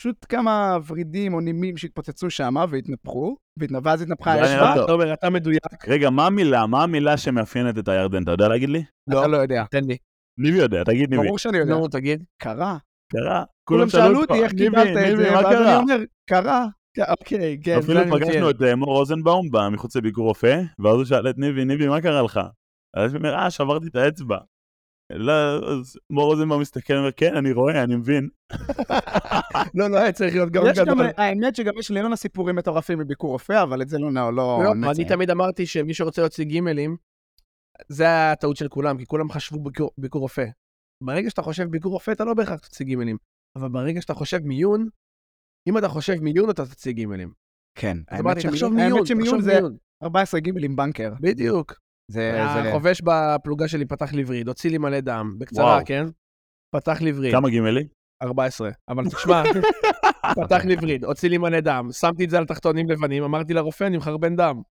פשוט כמה ורידים או נימים שהתפוצצו שם והתנפחו, והתנ- ואז התנפחה זה היה האש. נראה טוב. תומר, אתה מדויק. רגע, מה המילה, מה המילה שמאפיינת את הירדן, אתה יודע להגיד לי? אתה לא יודע. תן לי. ניבי יודע, תגיד ניבי. ברור שאני יודע. נו, תגיד. קרה. קרה? כולם שאלו אותי איך קיבלת את זה, מה ואז אני קרה? אומר, קרה. אוקיי, כן, זה אפילו אני מציין. פגשנו את אה, מור רוזנבאום ב- מחוץ לביקור רופא, ואז הוא שאל את ניבי, ניבי, מה קרה לך? אז הוא אומר, אה, שברתי את האצבע. לא, אז מור רוזנבאום מסתכל, אומר, כן, אני רואה, אני מבין. לא, לא היה צריך להיות גאון יש גם, גדול. האמת שגם יש לילון סיפורים מטורפים מביקור רופא, אבל את זה לא לא- לא, לא אני נציין. תמיד אמרתי שמי שרוצה להוציא גימלים, זה הטעות של כולם, כי כולם חשבו ביקור- ביקור רופא. ברגע שאתה חושב ביקור רופא, אתה לא בהכרח תוציא גימלים. אבל ברגע שאתה חושב מיון, אם אתה חושב מיון, אתה תוציא גימלים. כן. אז האמת אמרתי, שמיון- תחשוב מיון, האמת שמיון תחשוב זה מיון. 14 גימל עם בנקר. בדיוק. זה... זה- החובש בפלוגה שלי פתח לי וריד, הוציא לי מלא דם. בקצרה, וואו. כן? פתח לי וריד. כמה גימלי? 14. אבל תשמע, פתח לי וריד, הוציא לי מלא דם, שמתי את זה על תחתונים לבנים, אמרתי לרופא, אני מחרבן דם.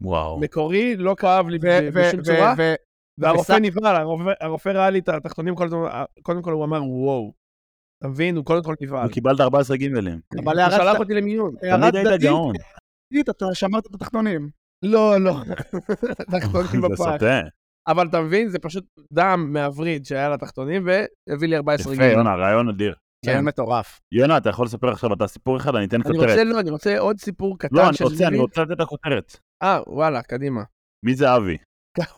וואו. מקורי, לא כאב לי ב- בשום צורה, והרופא נבהל, הרופא- הרופא ראה לי את התחתונים כל הזמן, קודם כל הוא אמר, וואו. אתה מבין? הוא קודם כל נבהל. הוא קיבלת 14 גימלים. אבל הוא שלח הערה אותי למיון. תמיד היית גאון. צדדית, אתה שמרת את התחתונים. לא, לא. תחתונים זה בפח. סוטה. אבל אתה מבין? זה פשוט דם מהווריד שהיה לתחתונים, והביא לי 14 יפה, גיל. יונה, רעיון אדיר. כן, מטורף. יונה, אתה יכול לספר עכשיו אתה סיפור אחד, אני אתן אני כותרת. רוצה, לא, אני רוצה עוד סיפור קטן לא, אני של רוצה, אני ליבי. רוצה לתת את הכותרת. אה, וואלה, קדימה. מי זה אבי?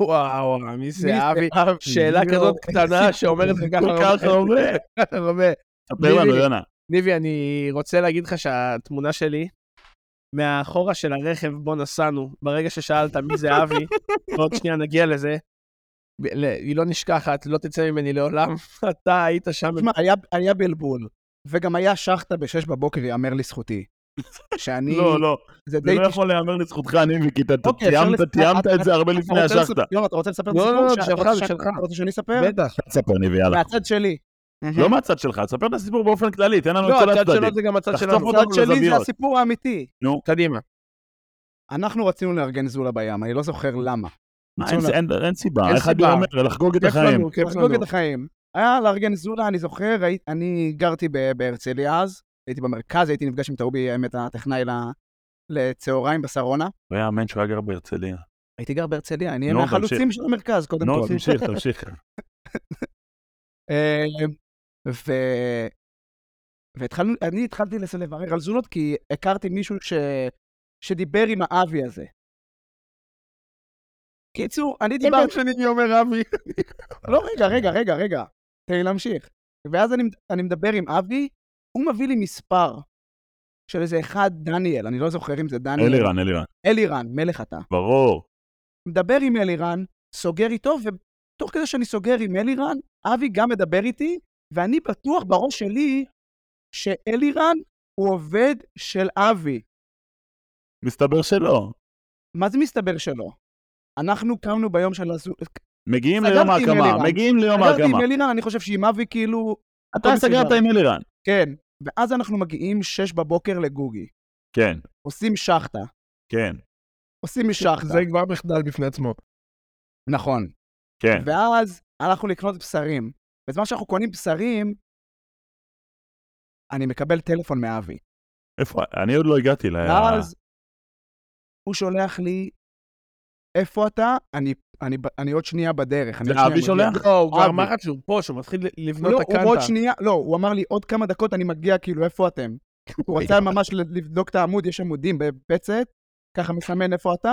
וואו, וואו, מי זה אבי? אבי? שאלה יואו, כזאת איזה קטנה שאומרת כל כך הרבה. כל כך הרבה. ספר לנו, ליבי. יונה. ניבי, אני רוצה להגיד לך שהתמונה שלי מהאחורה של הרכב בו נסענו, ברגע ששאלת מי זה אבי, עוד שנייה נגיע לזה, ב- ל- היא לא נשכחת, לא תצא ממני לעולם. אתה היית שם, תשמע, היה- היה בלבול, וגם היה שחטה ב-6 בבוקר, יאמר לזכותי. שאני... לא, לא. זה זה די... לא יכול להיאמר לזכותך, ניבי, כי אתה אוקיי, אפשר אה, תיאמת- לספר- תיאמת אתה- את זה הרבה אתה לפני רוצה השחטה. לספר- יום, אתה רוצה לספר את לא, הסיפור? לא, ש- בשלך, אתה רוצה ש- בשלך. אתה רוצה שאני אספר? בטח. ספר, ניבי, יאללה. מהצד שלי. לא מהצד שלך, ספר את הסיפור באופן כללי, תן לנו את לא, כל הצד שלו הצדדים. זה גם הצד תחטוף שלנו. אותנו הצד שלי זה לזוויות. הסיפור האמיתי. קדימה. אנחנו רצינו לארגן זולה בים, אני לא זוכר למה. מה, רצון אין- אין- אין סיבה, אין איך אני סיבה. אומר, לחגוג את כיף החיים. לנו, כיף לחגוג לנו. את החיים. היה לארגן זולה, אני זוכר, הי- אני גרתי ב- בהרצליה אז, הייתי במרכז, הייתי נפגש עם טעובי, האמת, הטכנאי ל- לצהריים בשרונה. הוא היה אמן שהוא היה גר בהרצליה. הייתי גר בהרצליה, אני נו, מהחלוצים של המרכז, קודם נו, כל. תמשיך, תמשיך. אה, ו... והתחלנו, אני התחלתי לס- לברר על זולות, כי הכרתי מישהו ש... שדיבר עם האבי הזה. קיצור, אני כל פעם דיברתי... שאני אומר אבי. לא, רגע, רגע, רגע, רגע. תן לי להמשיך. ואז אני, אני מדבר עם אבי, הוא מביא לי מספר של איזה אחד, דניאל, אני לא זוכר אם זה דניאל. אלירן, אלירן. אלירן, מלך אתה. ברור. מדבר עם אלירן, סוגר איתו, ותוך כדי שאני סוגר עם אלירן, אבי גם מדבר איתי, ואני בטוח בראש שלי שאלירן הוא עובד של אבי. מסתבר שלא. מה זה מסתבר שלא? אנחנו קמנו ביום של הזו... מגיעים סגרתי ליום עם ההקמה, אלירן. מגיעים ליום סגרתי עם ההקמה. אלירן, אני חושב שעם אבי כאילו... אתה הכל סגרת מסודר. עם אלירן. כן. ואז אנחנו מגיעים שש בבוקר לגוגי. כן, עושים שחטה. כן, עושים משחטה. זה כבר מחדל בפני עצמו. נכון. כן. ואז הלכנו לקנות בשרים. בזמן שאנחנו קונים בשרים, אני מקבל טלפון מאבי. איפה? אני עוד לא הגעתי ל... ואז הוא שולח לי, איפה אתה? אני, אני, ב- אני עוד שנייה בדרך. אני זה עוד שנייה אבי מגיע." שולח? לא, הוא כבר אבי. אמר לך שהוא פה, שהוא מתחיל לבנות לא, את הוא עוד הקנטה. שנייה, לא, הוא אמר לי, עוד כמה דקות אני מגיע, כאילו, איפה אתם? הוא רצה ממש ל- לבדוק את העמוד, יש עמודים בפצת, ככה מסמן איפה אתה,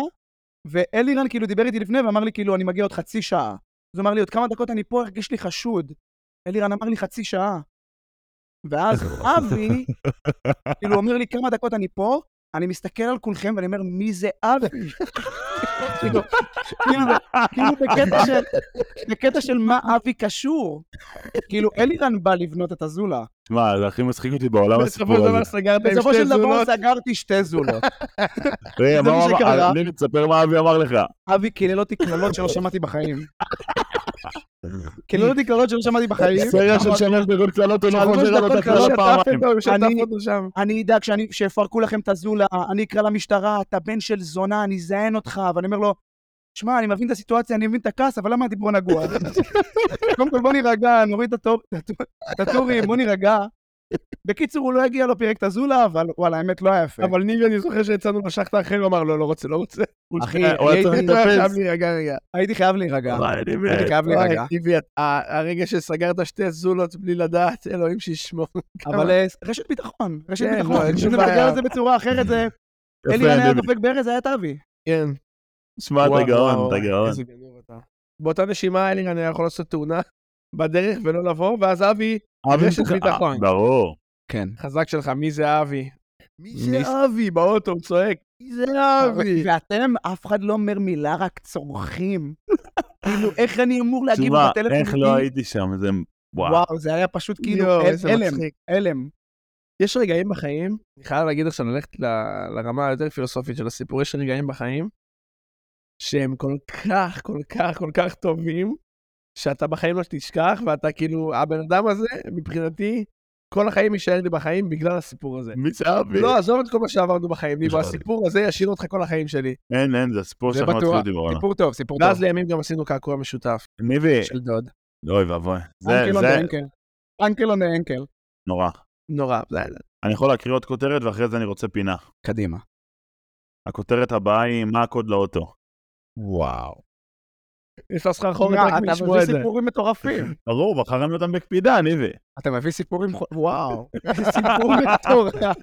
ואלירן כאילו דיבר איתי לפני ואמר לי, כאילו, אני מגיע עוד חצי שעה. אז הוא אמר לי, עוד כמה דקות אני פה, הרגיש לי חשוד. אלירן אמר לי, חצי שעה. ואז אבי, כאילו, אומר לי, כמה דקות אני פה, אני מסתכל על כולכם ואני אומר, מי זה אבי? כאילו, כאילו, כאילו בקטע של, בקטע של מה אבי קשור. כאילו, אלירן בא לבנות את הזולה. שמע, זה הכי מצחיק אותי בעולם בסופו הסיפור של דבר הזה. סגרת עם בסופו שתי של דבר זונות. סגרתי שתי זולות. זה רגע, אה, מה מה הוא אמר? שקרה. אה, אני תספר מה אבי אמר לך. אבי קילל אותי קללות שלא שמעתי בחיים. קילל אותי קללות שלא שמעתי בחיים. נכון. סריה של שלוש דקות קללות, הוא לא שלוש חוזר על דקות אותה קללות, קללה פעמיים. אני- שטף לא, אותו שם. אני אדאג שאני- שיפרקו לכם את הזולה, אני אקרא למשטרה, אתה בן של זונה, אני אזיין אותך. ואני אומר לו, שמע, אני מבין את הסיטואציה, אני מבין את הכעס, אבל למה הדיבור נגוע? קודם כל, בוא נירגע, נוריד את הטור- את הטור- את הטורים, בוא נירגע. בקיצור, הוא לא הגיע, לא פירק את הזולה, אבל וואלה, האמת, לא היה יפה. אבל ניבי, אני זוכר שיצאנו לשחטה אחרי, הוא אמר, לא, לא רוצה, לא רוצה. אחי, הוא היה אני צריך הייתי- לטפס. רגע, רגע. הייתי חייב להירגע. וואי, אה, אני מת. הייתי חייב להירגע. ניבי, את- ה- הרגע שסגרת שתי זולות בלי לדעת, אלוהים שישמור. אבל אה, רשת ביטחון, רשת כן, ביטחון. לא, אין שום אם נדבר בעיה. על זה בצורה אחרת, זה... יפה, אלירן היה ניבי. דופק בארז, זה היה תאבי. כן. שמע, אתה וואו, גאון, וואו, אתה וואו, גאון. איזה גנוב אתה. באותה נשימה אלירן היה יכול לעשות תאונה בדרך ולא לבוא, ואז אבי, אבי רשת מתוקן. ביטחון. ברור. כן. חזק שלך, מי זה אבי? מי מי זה- זה אבי? באוטו, הוא צועק, מי זה אבי? ואתם, אף אחד לא אומר מילה, רק צורכים. כאילו, איך אני אמור להגיב תשמע, בטלפון? איך איתי? לא הייתי שם, זה... וואו. וואו, זה היה פשוט כאילו יואו, אל- איזה הלם, מצחיק. הלם. יש רגעים בחיים, אני חייב להגיד עכשיו, ללכת ל- לרמה היותר פילוסופית של הסיפור, יש רגעים בחיים שהם כל כך, כל כך, כל כך טובים, שאתה בחיים לא תשכח, ואתה כאילו, הבן אדם הזה, מבחינתי, כל החיים יישאר לי בחיים בגלל הסיפור הזה. מי זה אבי? לא, עזוב את כל מה שעברנו בחיים, ניבו, נכון. הסיפור הזה ישאיר אותך כל החיים שלי. אין, אין, זה הסיפור זה שאנחנו בטוח. מתחילים לדבר עליו. סיפור טוב, סיפור טוב. ואז לימים גם עשינו קעקוע משותף ניבי, של דוד. אוי ואבוי. זה, אנקל און זה אנקל. אנקל און אנקל. נורא. נורא. זה- אני יכול להקריא עוד כותרת ואחרי זה אני רוצה פינה. קדימה. הכותרת הבאה היא מה הקוד לאוטו. וואו. יש לה סחרחורת רק אתה מלשמוע מביא את זה. סיפורים מטורפים. ברור, בחרנו אותם בקפידה, ניבי. אתה מביא סיפורים... חו- וואו. סיפור מטורף.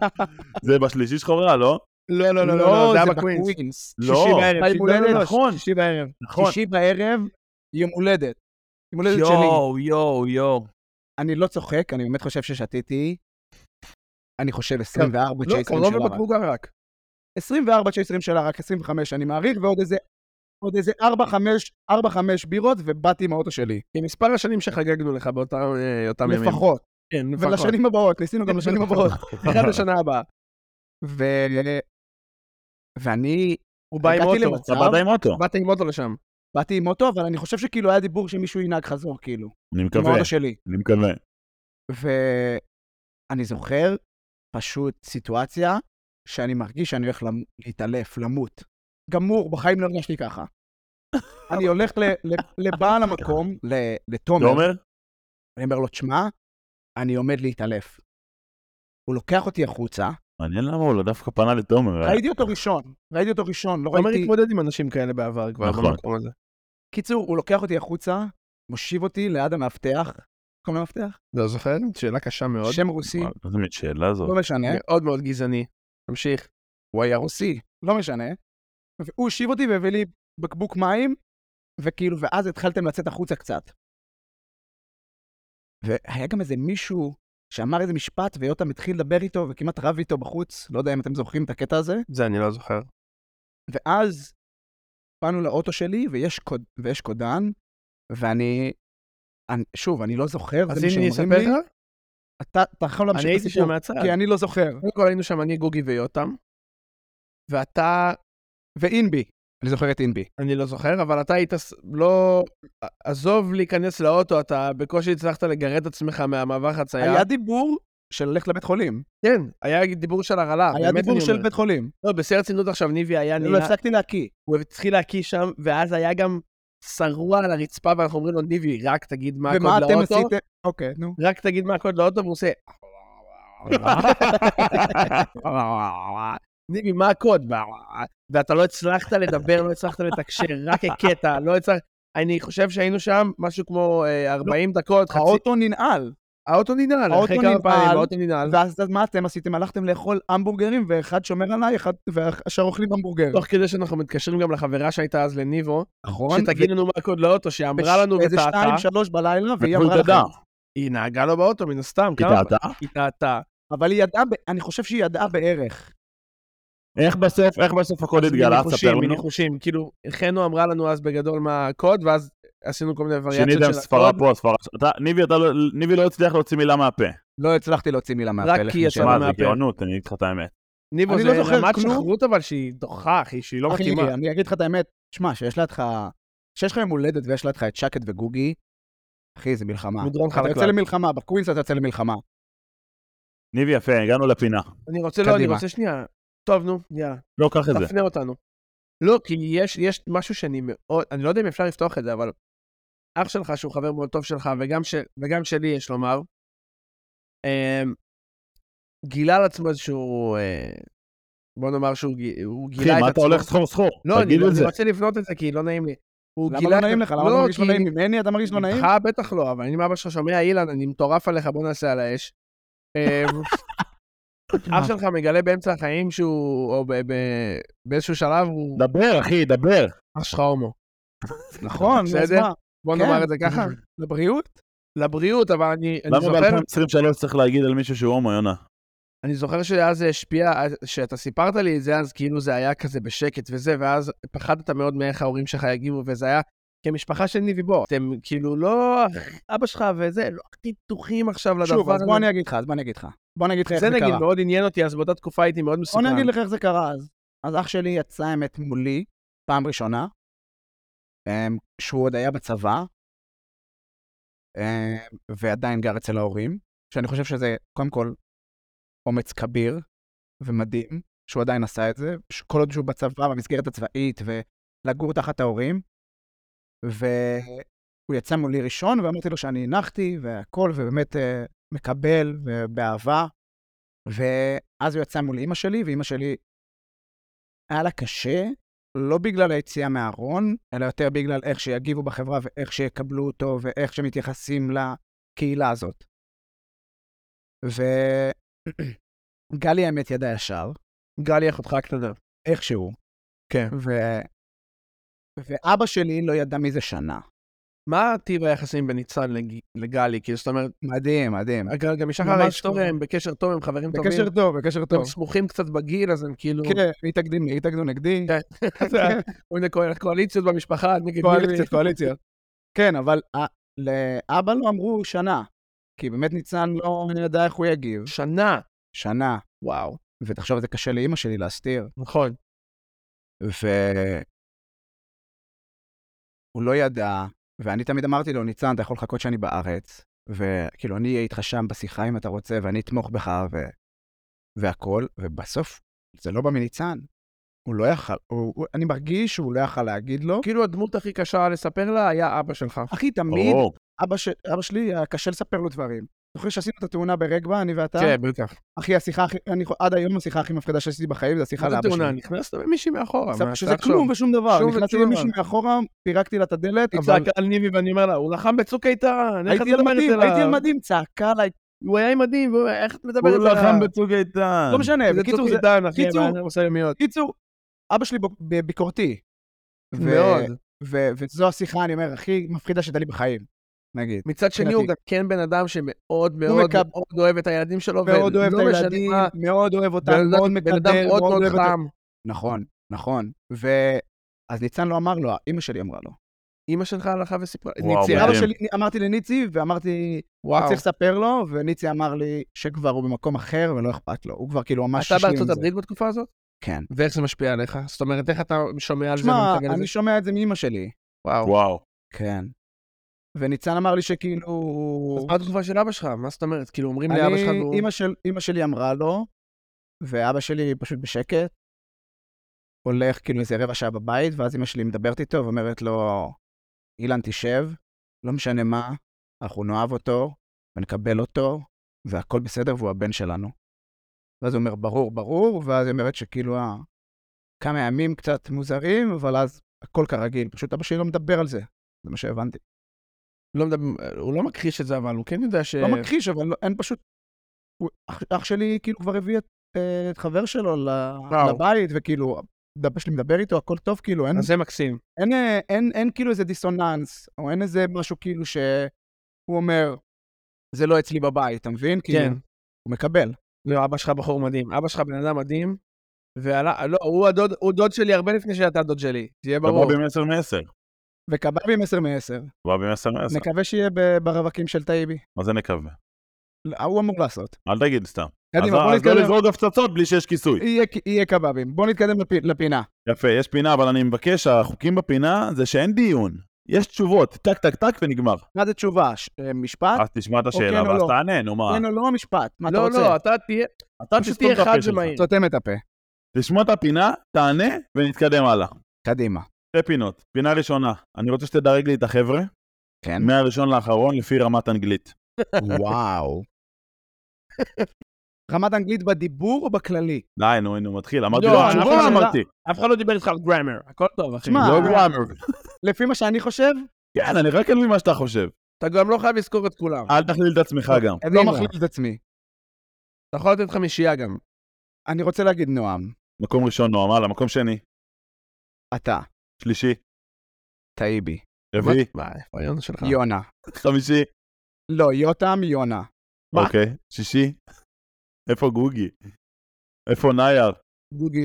זה בשלישי שלך עולה, לא? לא, לא, לא, לא, לא, לא, זה היה זה בקווינס. בקווינס. לא. שישי יום בערב. הולדת, לא, לא, לא, נכון. שישי בערב. נכון. שישי בערב, יום הולדת. יום הולדת שלי. יואו, יואו, יואו. אני לא צוחק, אני באמת חושב ששתיתי, אני חושב 24 לא, צ'ייסרים קרלו של ערק. ובקבוק הרק. 24 צ'ייסרים של ערק, 25 אני מעריך, ועוד איזה... עוד איזה 4-5 4-5 בירות, ובאתי עם האוטו שלי. עם מספר השנים שחגגנו לך באותם אה, אותם ימים. לפחות. כן, לפחות. ולשנים הבאות, ניסינו גם לשנים הבאות. אחד לשנה הבאה. ו... ואני הוא בא עם הגעתי אוטו. למצב- אתה באת עם אוטו. באתי עם אוטו לשם. באתי עם אוטו, אבל אני חושב שכאילו היה דיבור שמישהו ינהג חזור, כאילו. אני עם מקווה, האוטו שלי. אני מקווה. ואני זוכר פשוט סיטואציה שאני מרגיש שאני הולך למ... להתעלף, למות. גמור, בחיים לא הרגשתי ככה. אני הולך ל... ל... לבעל המקום, ל... לתומר, תומר? אני אומר לו, תשמע, אני עומד להתעלף. הוא לוקח אותי החוצה, מעניין למה הוא לא דווקא פנה לתומר. אה? ראיתי אותו ראשון, ראיתי אותו ראשון, לא עומר ראיתי... התמודד עם אנשים כאלה בעבר כבר נכון. במקום הזה. קיצור, הוא לוקח אותי החוצה, מושיב אותי ליד המאבטח, קוראים למאבטח? לא זוכר? שאלה קשה מאוד. שם רוסי, מה, איזה מין שאלה זאת. לא משנה. מאוד מאוד גזעני. תמשיך. הוא היה רוסי, לא משנה. והוא הושיב אותי והביא לי בקבוק מים, וכאילו, ואז התחלתם לצאת החוצה קצת. והיה גם איזה מישהו שאמר איזה משפט, ויותם התחיל לדבר איתו וכמעט רב איתו בחוץ, לא יודע אם אתם זוכרים את הקטע הזה. זה אני לא זוכר. ואז באנו לאוטו שלי, ויש, קוד, ויש קודן, ואני... אני, שוב, אני לא זוכר, אז זה מה הנה אני שאומרים אספר לי. לך, אתה, אתה יכול אני להמשיך את הייתי הסיפור, שם מהצד. כי אני לא זוכר. כן. קודם כל היינו שם אני, גוגי ויותם, ואתה, ואינבי, אני זוכר את אינבי. אני לא זוכר, אבל אתה היית, ס- לא, עזוב להיכנס לאוטו, אתה בקושי הצלחת לגרד את עצמך מהמעבר חצייה. היה דיבור של ללכת לבית חולים. כן, היה דיבור של הרעלה, היה באמת דיבור אני של אומר. בית חולים. לא, בשיא הרצינות עכשיו ניבי היה לא נראה, הפסקתי להקיא. הוא התחיל להקיא שם, ואז היה גם שרוע על הרצפה, ואנחנו אומרים לו, ניבי, רק תגיד מה הקוד ומה לאוטו. אתם עשיתם? אוקיי, נו. רק תגיד מה הקוד לאוטו, והוא עושה... ניבי, מה הקוד? ואתה לא הצלחת לדבר, לא הצלחת לתקשר, רק הקטע, לא הצלחת... אני חושב שהיינו שם משהו כמו אה, 40 דקות, חצי... האוטו ננעל. האוטו ננעל, האוטו אחרי כמה ננעל. פעמים, האוטו ננעל. ואז אז מה אתם עשיתם? הלכתם לאכול המבורגרים, ואחד שומר עליי, אחד- והשאר אוכלים המבורגר. תוך כדי שאנחנו מתקשרים גם לחברה שהייתה אז לניבו, נכון. שתגיד לנו מה הקוד לאוטו, שאמרה לנו איזה וטעתה. שתיים, שלוש בלילה, והיא הוא אמרה התאדה. לכם. היא נהגה לו באוטו, מן הסתם. היא כמה- טעתה? היא טעתה. אבל היא ידעה, ב- אני חושב שהיא ידעה בערך. איך בסוף, איך בסוף הכל התגלה? ספר מניחושים, לנו. מניחושים. כאילו, חנו אמרה לנו אז בגדול מה הקוד, ואז עשינו כל מיני וריאציות שיניתם של ספרה הקוד, פה, ספרה ש- אתה- ניבי, אתה לא- ניבי לא הצליח להוציא מילה מהפה. לא הצלחתי להוציא מילה מהפה. רק לפני כי יצא ש- מה מה, זה מהפה. גאונות, אני אגיד לך את האמת. ניבו אני זה לא זוכר רמת כלום. שחרות אבל שהיא דוחה, אחי, שהיא לא אחי, מתאימה. אני אגיד לך את האמת, שמע, שיש לידך, שיש לך יום הולדת ויש לידך את שקט וגוגי, אחי, זה מלחמה. מדרון אתה יוצא חלקלק. למלחמה, בקווינס אתה יוצא למלחמה. ניבי, יפה, הגענו לפינה. אני רוצה, לא, אני קדימה. רוצה שנייה. טוב, נו, יאללה, לא, קח את זה. תפנה אותנו. לא, כי יש, יש משהו שאני מאוד, אני לא יודע אם אפשר לפתוח את זה, אבל אח שלך, שהוא חבר מאוד טוב שלך, וגם, ש, וגם שלי, יש לומר, אמ, גילה על עצמו איזשהו, אה, בוא נאמר שהוא גי- הוא גילה את אחי, עצמו. מה אתה הולך סחור סחור? לא, אני, תגיד את אני זה. רוצה לבנות את זה כי לא נעים לי. הוא למה גילה לא את נעים זה- לך? למה אתה מרגיש לא כי נעים ממני? אתה מרגיש לא נעים? איתך בטח לא, אבל אם אבא שלך שומע, אילן, אני מטורף עליך, בוא נעשה על האש. אה, אח שלך מגלה באמצע החיים שהוא, או ב- ב- באיזשהו שלב, הוא דבר, אחי, דבר. אח שלך הומו. נכון, אז בסדר? מה? בוא כן. נאמר את זה ככה. לבריאות? לבריאות, אבל אני אני למה זוכר, ב-2023 צריך להגיד על מישהו שהוא הומו, יונה? אני זוכר שאז זה השפיע, שאתה סיפרת לי את זה, אז כאילו זה היה כזה בשקט וזה, ואז פחדת מאוד מאיך ההורים שלך יגיבו, וזה היה כמשפחה של ניבי בו. אתם כאילו לא, אבא שלך וזה, לא הכי פתוחים עכשיו לדבר שוב, אז הזה. בוא אני אגיד לך, אז בוא אני אגיד לך. בוא אני אגיד לך איך זה זה לא נגיד קרה. מאוד עניין אותי, אז באותה תקופה הייתי מאוד בוא מסוכן. אני אגיד לך איך זה קרה אז. אז אח שלי יצא אמת מולי, פעם ראשונה, אמ, שהוא עוד היה בצבא, אמ, ועדיין גר אצל ההורים, שאני חושב שזה, קודם כל, אומץ כביר ומדהים, שהוא עדיין עשה את זה, כל עוד שהוא בצבא, במסגרת הצבאית, ולגור תחת ההורים. והוא יצא מולי ראשון, ואמרתי לו שאני הנחתי, והכל, ובאמת אה, מקבל, ובאהבה. ואז הוא יצא מול אימא שלי, ואימא שלי, היה לה קשה, לא בגלל היציאה מהארון, אלא יותר בגלל איך שיגיבו בחברה ואיך שיקבלו אותו ואיך שמתייחסים לקהילה הזאת. וגלי האמת ידע ישר, גלי אחותך הקטנה. איכשהו. כן. ו... ואבא שלי לא ידע מזה שנה. מה טיב היחסים בין ניצן לג- לגלי? כאילו, זאת אומרת, מדהים, מדהים. אגב, גם משחר ממש ההיסטוריה הם בקשר טוב, הם חברים טובים. אה, בקשר טוב, בקשר הם טוב. סמוכים קצת בגיל, אז הם כאילו... כן, התאגדים לי, התאגדו נגדי. כן. אתה- הנה קואל- קואליציות במשפחה, נגד ביבי. קואליציות, קואליציות. כן, אבל אה, לאבא לא אמרו שנה, כי באמת ניצן לא ידע איך הוא יגיב. שנה. שנה, וואו. ותחשוב, זה קשה לאימא שלי להסתיר. נכון. ו... הוא לא ידע, ואני תמיד אמרתי לו, ניצן, אתה יכול לחכות שאני בארץ, וכאילו, אני אהיה איתך שם בשיחה אם אתה רוצה, ואני אתמוך בך, ו... והכול, ובסוף, זה לא בא מניצן. הוא לא יכל, הוא... הוא- אני מרגיש שהוא לא יכל להגיד לו. כאילו הדמות הכי קשה לספר לה היה אבא שלך. אחי, תמיד או, אבא, ש... אבא שלי, היה קשה לספר לו דברים. זוכר שעשינו את התאונה ברגבה, אני ואתה? כן, בטח. אחי, השיחה הכי, אני... יכול- עד היום השיחה הכי מפחידה שעשיתי בחיים זה השיחה מה זה לאבא שלי. תאונה? נכנסת במישהי מאחורה. עכשיו, מה, שזה אתה כלום עכשיו- ושום דבר. שום נכנסתי ושום למישהו מאחורה, פירקתי לה את הדלת, היא אבל צעקה על ניבי ואני אומר לה, הוא לחם בצוק איתן, איך את הייתי על מדברת מדים, אליו? הייתי על מדים, צעקה עליי, הוא היה עם מדים, והוא- איך את מדברת הוא אליו? כן, לחם בצוק איתן. לא משנה, אה, זה בקיצור, צוק זה- איתן, אחי, קיצור. אני עושה ימיות. בקיצור, אבא שלי בוק- ב- ביקורתי. ו- מאוד. ו- וזו השיחה, אני אומר, הכי מפחידה שהייתה לי בחיים, נגיד. מצד שני, הוא מבחינתי. גם כן בן אדם שמאוד מאוד מקב- מאוד אוהב את הילדים שלו, מאוד ולא אוהב את לא משנה הילדים, מה, מאוד אוהב אותם, בן אדם- מאוד בן אדם מקדם, מאוד מאוד אוהב את- חם. נכון, נכון. ו... אז ניצן לא אמר לו, אימא שלי אמרה לו. אימא שלך הלכה וסיפרה, וואו, ניצי, אבא מדהים. שלי, אמרתי לניצי, ואמרתי, אתה וואו. צריך לספר לו, וניצי אמר לי שכבר הוא במקום אחר ולא אכפת לו. הוא כבר כאילו ממש... אתה השלים בארצות זה. הברית בתקופה הזאת? כן. ואיך זה משפיע עליך? זאת אומרת, איך אתה שומע על זה תשמע, ומתרגל לזה? אני שומע את זה מאימא שלי. וואו. וואו. כן. וניצן אמר לי שכאילו... אז מה התגובה של אבא שלך? מה זאת אומרת? כאילו אומרים אני, לאבא שלך, נו, אימא, של, אימא שלי אמרה לו, ואבא שלי פשוט בשקט, הולך כאילו איזה רבע שעה בבית, ואז אימא שלי מדברת איתו ואומרת לו, אילן תשב, לא משנה מה, אנחנו נאהב אותו, ונקבל אותו, והכל בסדר, והוא הבן שלנו. ואז הוא אומר, ברור, ברור, ואז היא אומרת שכאילו, אה, כמה ימים קצת מוזרים, אבל אז הכל כרגיל, פשוט אבא שלי לא מדבר על זה, זה מה שהבנתי. לא מדבר- הוא לא מכחיש את זה, אבל הוא כן יודע ש... לא מכחיש, אבל לא- אין פשוט... הוא- אח, אח שלי כאילו כבר הביא את, אה, את חבר שלו ל, וואו. לבית, וכאילו, אבא שלי מדבר איתו, הכל טוב, כאילו, אין, אז זה מקסים. אין, אה, אין, אין כאילו איזה דיסוננס, או אין איזה משהו כאילו שהוא אומר, זה לא אצלי בבית, אתה מבין? כן. כאילו, הוא מקבל. לא, אבא שלך בחור מדהים. אבא שלך בן אדם מדהים. ועלה, לא, הוא הדוד, הוא דוד שלי הרבה לפני שאתה דוד שלי. תהיה אתה ברור. בא במסר מעשר. וקבע בי 10 מ-10. אתה בא במסר מעשר. נקווה שיהיה ב- ברווקים של טייבי. מה זה נקווה? לא, הוא אמור לעשות. אל תגיד סתם. אז קדימה, בוא אז לא נתקדם. לזרוק הפצצות בלי שיש כיסוי. יהיה, יהיה קבבים. בוא נתקדם לפי- לפינה. יפה, יש פינה, אבל אני מבקש, החוקים בפינה זה שאין דיון. יש תשובות, טק טק טק ונגמר. מה זה תשובה? ש- אה, משפט? אז תשמע את השאלה, כן או ואז לא? תענה, נו מה. כן או לא משפט? מה אתה לא, רוצה? לא, אה. אתה תהיה, אתה פשוט תסתום תהיה את הפה חד שלך. ומהיר. סותם את הפה. תשמע את הפינה, תענה, ונתקדם הלאה. קדימה. שתי פינות. פינה ראשונה, אני רוצה שתדרג לי את החבר'ה, כן. מהראשון לאחרון, לפי רמת אנגלית. וואו. רמת אנגלית בדיבור או בכללי? די, נו, הנה, הוא מתחיל. אמרתי לא, לו, אנחנו התשובה שאלה- אמרתי. אף אחד לא דיבר איתך על גרמר, הכל טוב, אחי. שמע, לא גרמר. לפי מה שאני חושב, כן, אני רק אבין מה שאתה חושב. אתה גם לא חייב לזכור את כולם. אל תכליל את עצמך גם. לא קדימה. מחליף את עצמי. אתה יכול לתת חמישייה גם. אני רוצה להגיד נועם, מקום ראשון, נועם, הלאה, מקום שני, אתה, שלישי, טייבי, אה. רביעי, מה, איפה היון שלך? יונה. חמישי, לא, יותם, יונה. מה? אוקיי, שישי. איפה גוגי? איפה נייר? גוגי.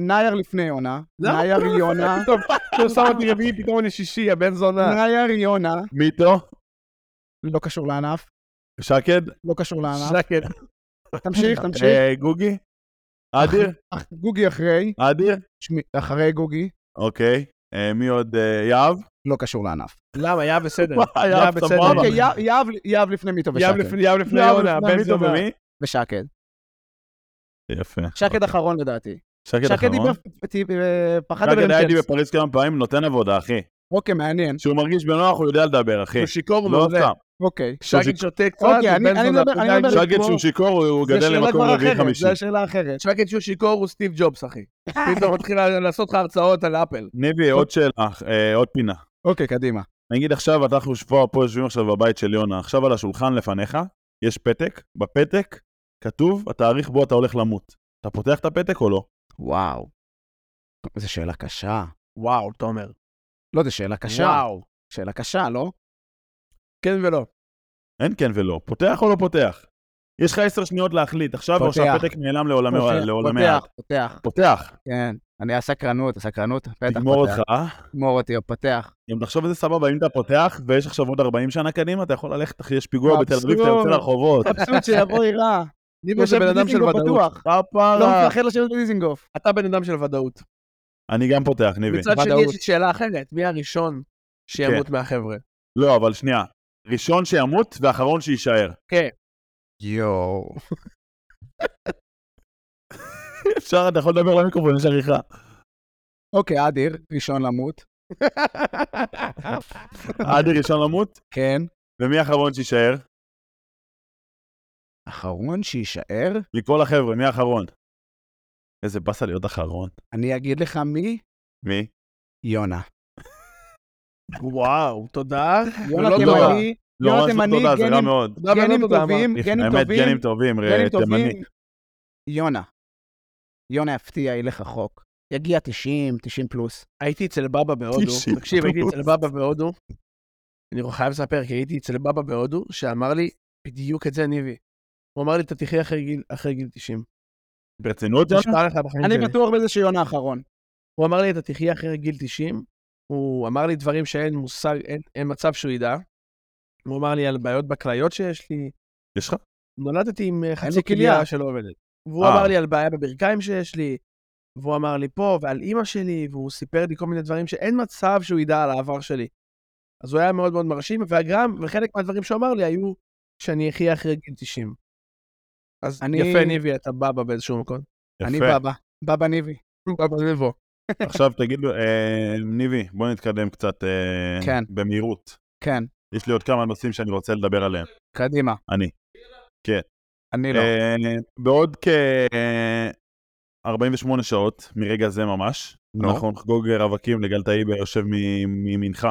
נייר לפני יונה, למה נייר אתה לא יונה, טוב, הוא שם אותי רביעי, פתאום אני שישי, הבן זונה. נייר יונה, מיטו? לא קשור לענף, שקד? לא קשור לענף. שקט. תמשיך, תמשיך. אה, גוגי? אדיר? אח- גוגי אחרי, אדיר? שמי- אחרי גוגי, אוקיי. אה, מי עוד? אה, יהב? לא קשור לענף. למה? יהב בסדר. וואי, יהב, יהב בסדר. סבבה. אוקיי, יהב- יהב- יהב לפני מיטו יהב ושקד. לפני- יהב לפני יונה, בן זונה. ושקד. יפה. שקד אחרון לדעתי. שקד שקד אחרון. דיבר- טיב- אה, פחד לדבר שקד עם היה לי צ'לס. בפריז כמה פעמים, נותן עבודה, אחי. אוקיי, מעניין. כשהוא מרגיש בנוח, הוא יודע לדבר, אחי. הוא שיכור לא מעולה. סתם. אוקיי. שקד שותה קצת, אוקיי, אני- ובן אני זונה. מדבר- הוא אני עדיין מדבר- שקד שקד כמו- שהוא שיכור, הוא זה גדל שאלה למקום כבר רביעי אחרת, חמישי. זה שאלה אחרת. שקד שהוא שיכור הוא סטיב ג'ובס, אחי. אה. פתאום מתחיל לעשות לך הרצאות על אפל. ניבי, עוד שאלה, אה, עוד פינה. אוקיי, קדימה. נגיד עכשיו, אנחנו פה, פה יושבים עכשיו בבית של יונה, עכשיו על השולחן לפניך, יש פתק, בפתק כתוב התאריך בו אתה הולך למות. אתה פותח את הפתק או לא? וואו. זו שאלה קשה. וואו, תומר. לא, זו שאלה קשה. וואו. שאלה קשה, לא? כן ולא. אין כן ולא. פותח או לא פותח? יש לך עשר שניות להחליט, עכשיו או פותח. שהפתק נעלם לעולמי פותח, לעולמי אוקיי, פותח, פותח. עד. פותח, כן. אני הסקרנות, הסקרנות. בטח, תגמור פותח. אותך. תגמור אותי, פותח. אם תחשוב איזה סבבה, אם אתה פותח ויש עכשיו עוד 40 שנה קדימה, אתה יכול ללכת, אחי, יש פיגוע בתל אביב, אתה יוצא מבסוט. לרחובות. מבסוט שיבוא יירה. ניבו זה בן אדם של ודאות. פתוח. לא כפרה. מפחד לשבת בדיזינגוף. אתה בן אדם של ודאות. אני גם פותח, ניבי. מצד שני, ודאות. יש לי שאלה אחרת. מי הראשון שימות כן. מהחבר'ה? לא, אבל שנייה. ראשון שימות ואחרון שיישאר. יואו. אפשר, אתה יכול לדבר למיקרופון, יש עריכה. אוקיי, אדיר, ראשון למות. עדי ראשון למות, כן. ומי האחרון שיישאר? אחרון שיישאר, מכל החבר'ה, מי האחרון? איזה באסה להיות אחרון. אני אגיד לך מי? מי? יונה. וואו, תודה. יונה ולא תימני, תודה. לא, יונתן, ממש לא אני תודה, זה רע גנים- מאוד. תודה ולא גנים תודה, אמרתי. טובים, גנים באמת, טובים, גנים טובים, ראה, גנים תימני. טובים. יונה. יונה יפתיע, ילך רחוק. יגיע 90, 90 פלוס. הייתי אצל בבא בהודו, תשעים תקשיב, הייתי פלוס. אצל בבא בהודו, אני חייב לספר, כי הייתי אצל בבא בהודו, שאמר לי בדיוק את זה, ניבי. הוא אמר לי, אתה תחיה אחרי גיל- אחרי גיל 90. ברצינות, זה יונה? השפעה לך בחיים לא אני אוקיי. שלי. בטוח בזה שיונה אחרון. הוא אמר לי, אתה תחיה אחרי גיל 90. הוא אמר לי דברים שאין מושג, אין- אין מצב שהוא ידע. הוא אמר לי על בעיות בכליות שיש לי, יש לך? נולדתי עם אה, לו חצי כליה. כליה שלא עובדת. והוא אה. אמר לי על בעיה בברכיים שיש לי, והוא אמר לי פה, ועל אימא שלי, והוא סיפר לי כל מיני דברים שאין מצב שהוא ידע על העבר שלי. אז הוא היה מאוד מאוד מרשים, וגם, וחלק מהדברים שהוא אמר לי היו שאני אחיה אחרי גיל 90. אז אני- יפה, ניבי, אתה בבא באיזשהו מקום. אני יפה. בבא. בבא ניבי. בבא נבו. עכשיו תגידו, אה, ניבי, בוא נתקדם קצת אה, כן. במהירות. כן, יש לי עוד כמה נושאים שאני רוצה לדבר עליהם. קדימה. אני. כן. אני לא. אה, בעוד כ-48 שעות מרגע זה ממש, נו. אנחנו נחגוג רווקים לגל טעיבה יושב מ- מימינך,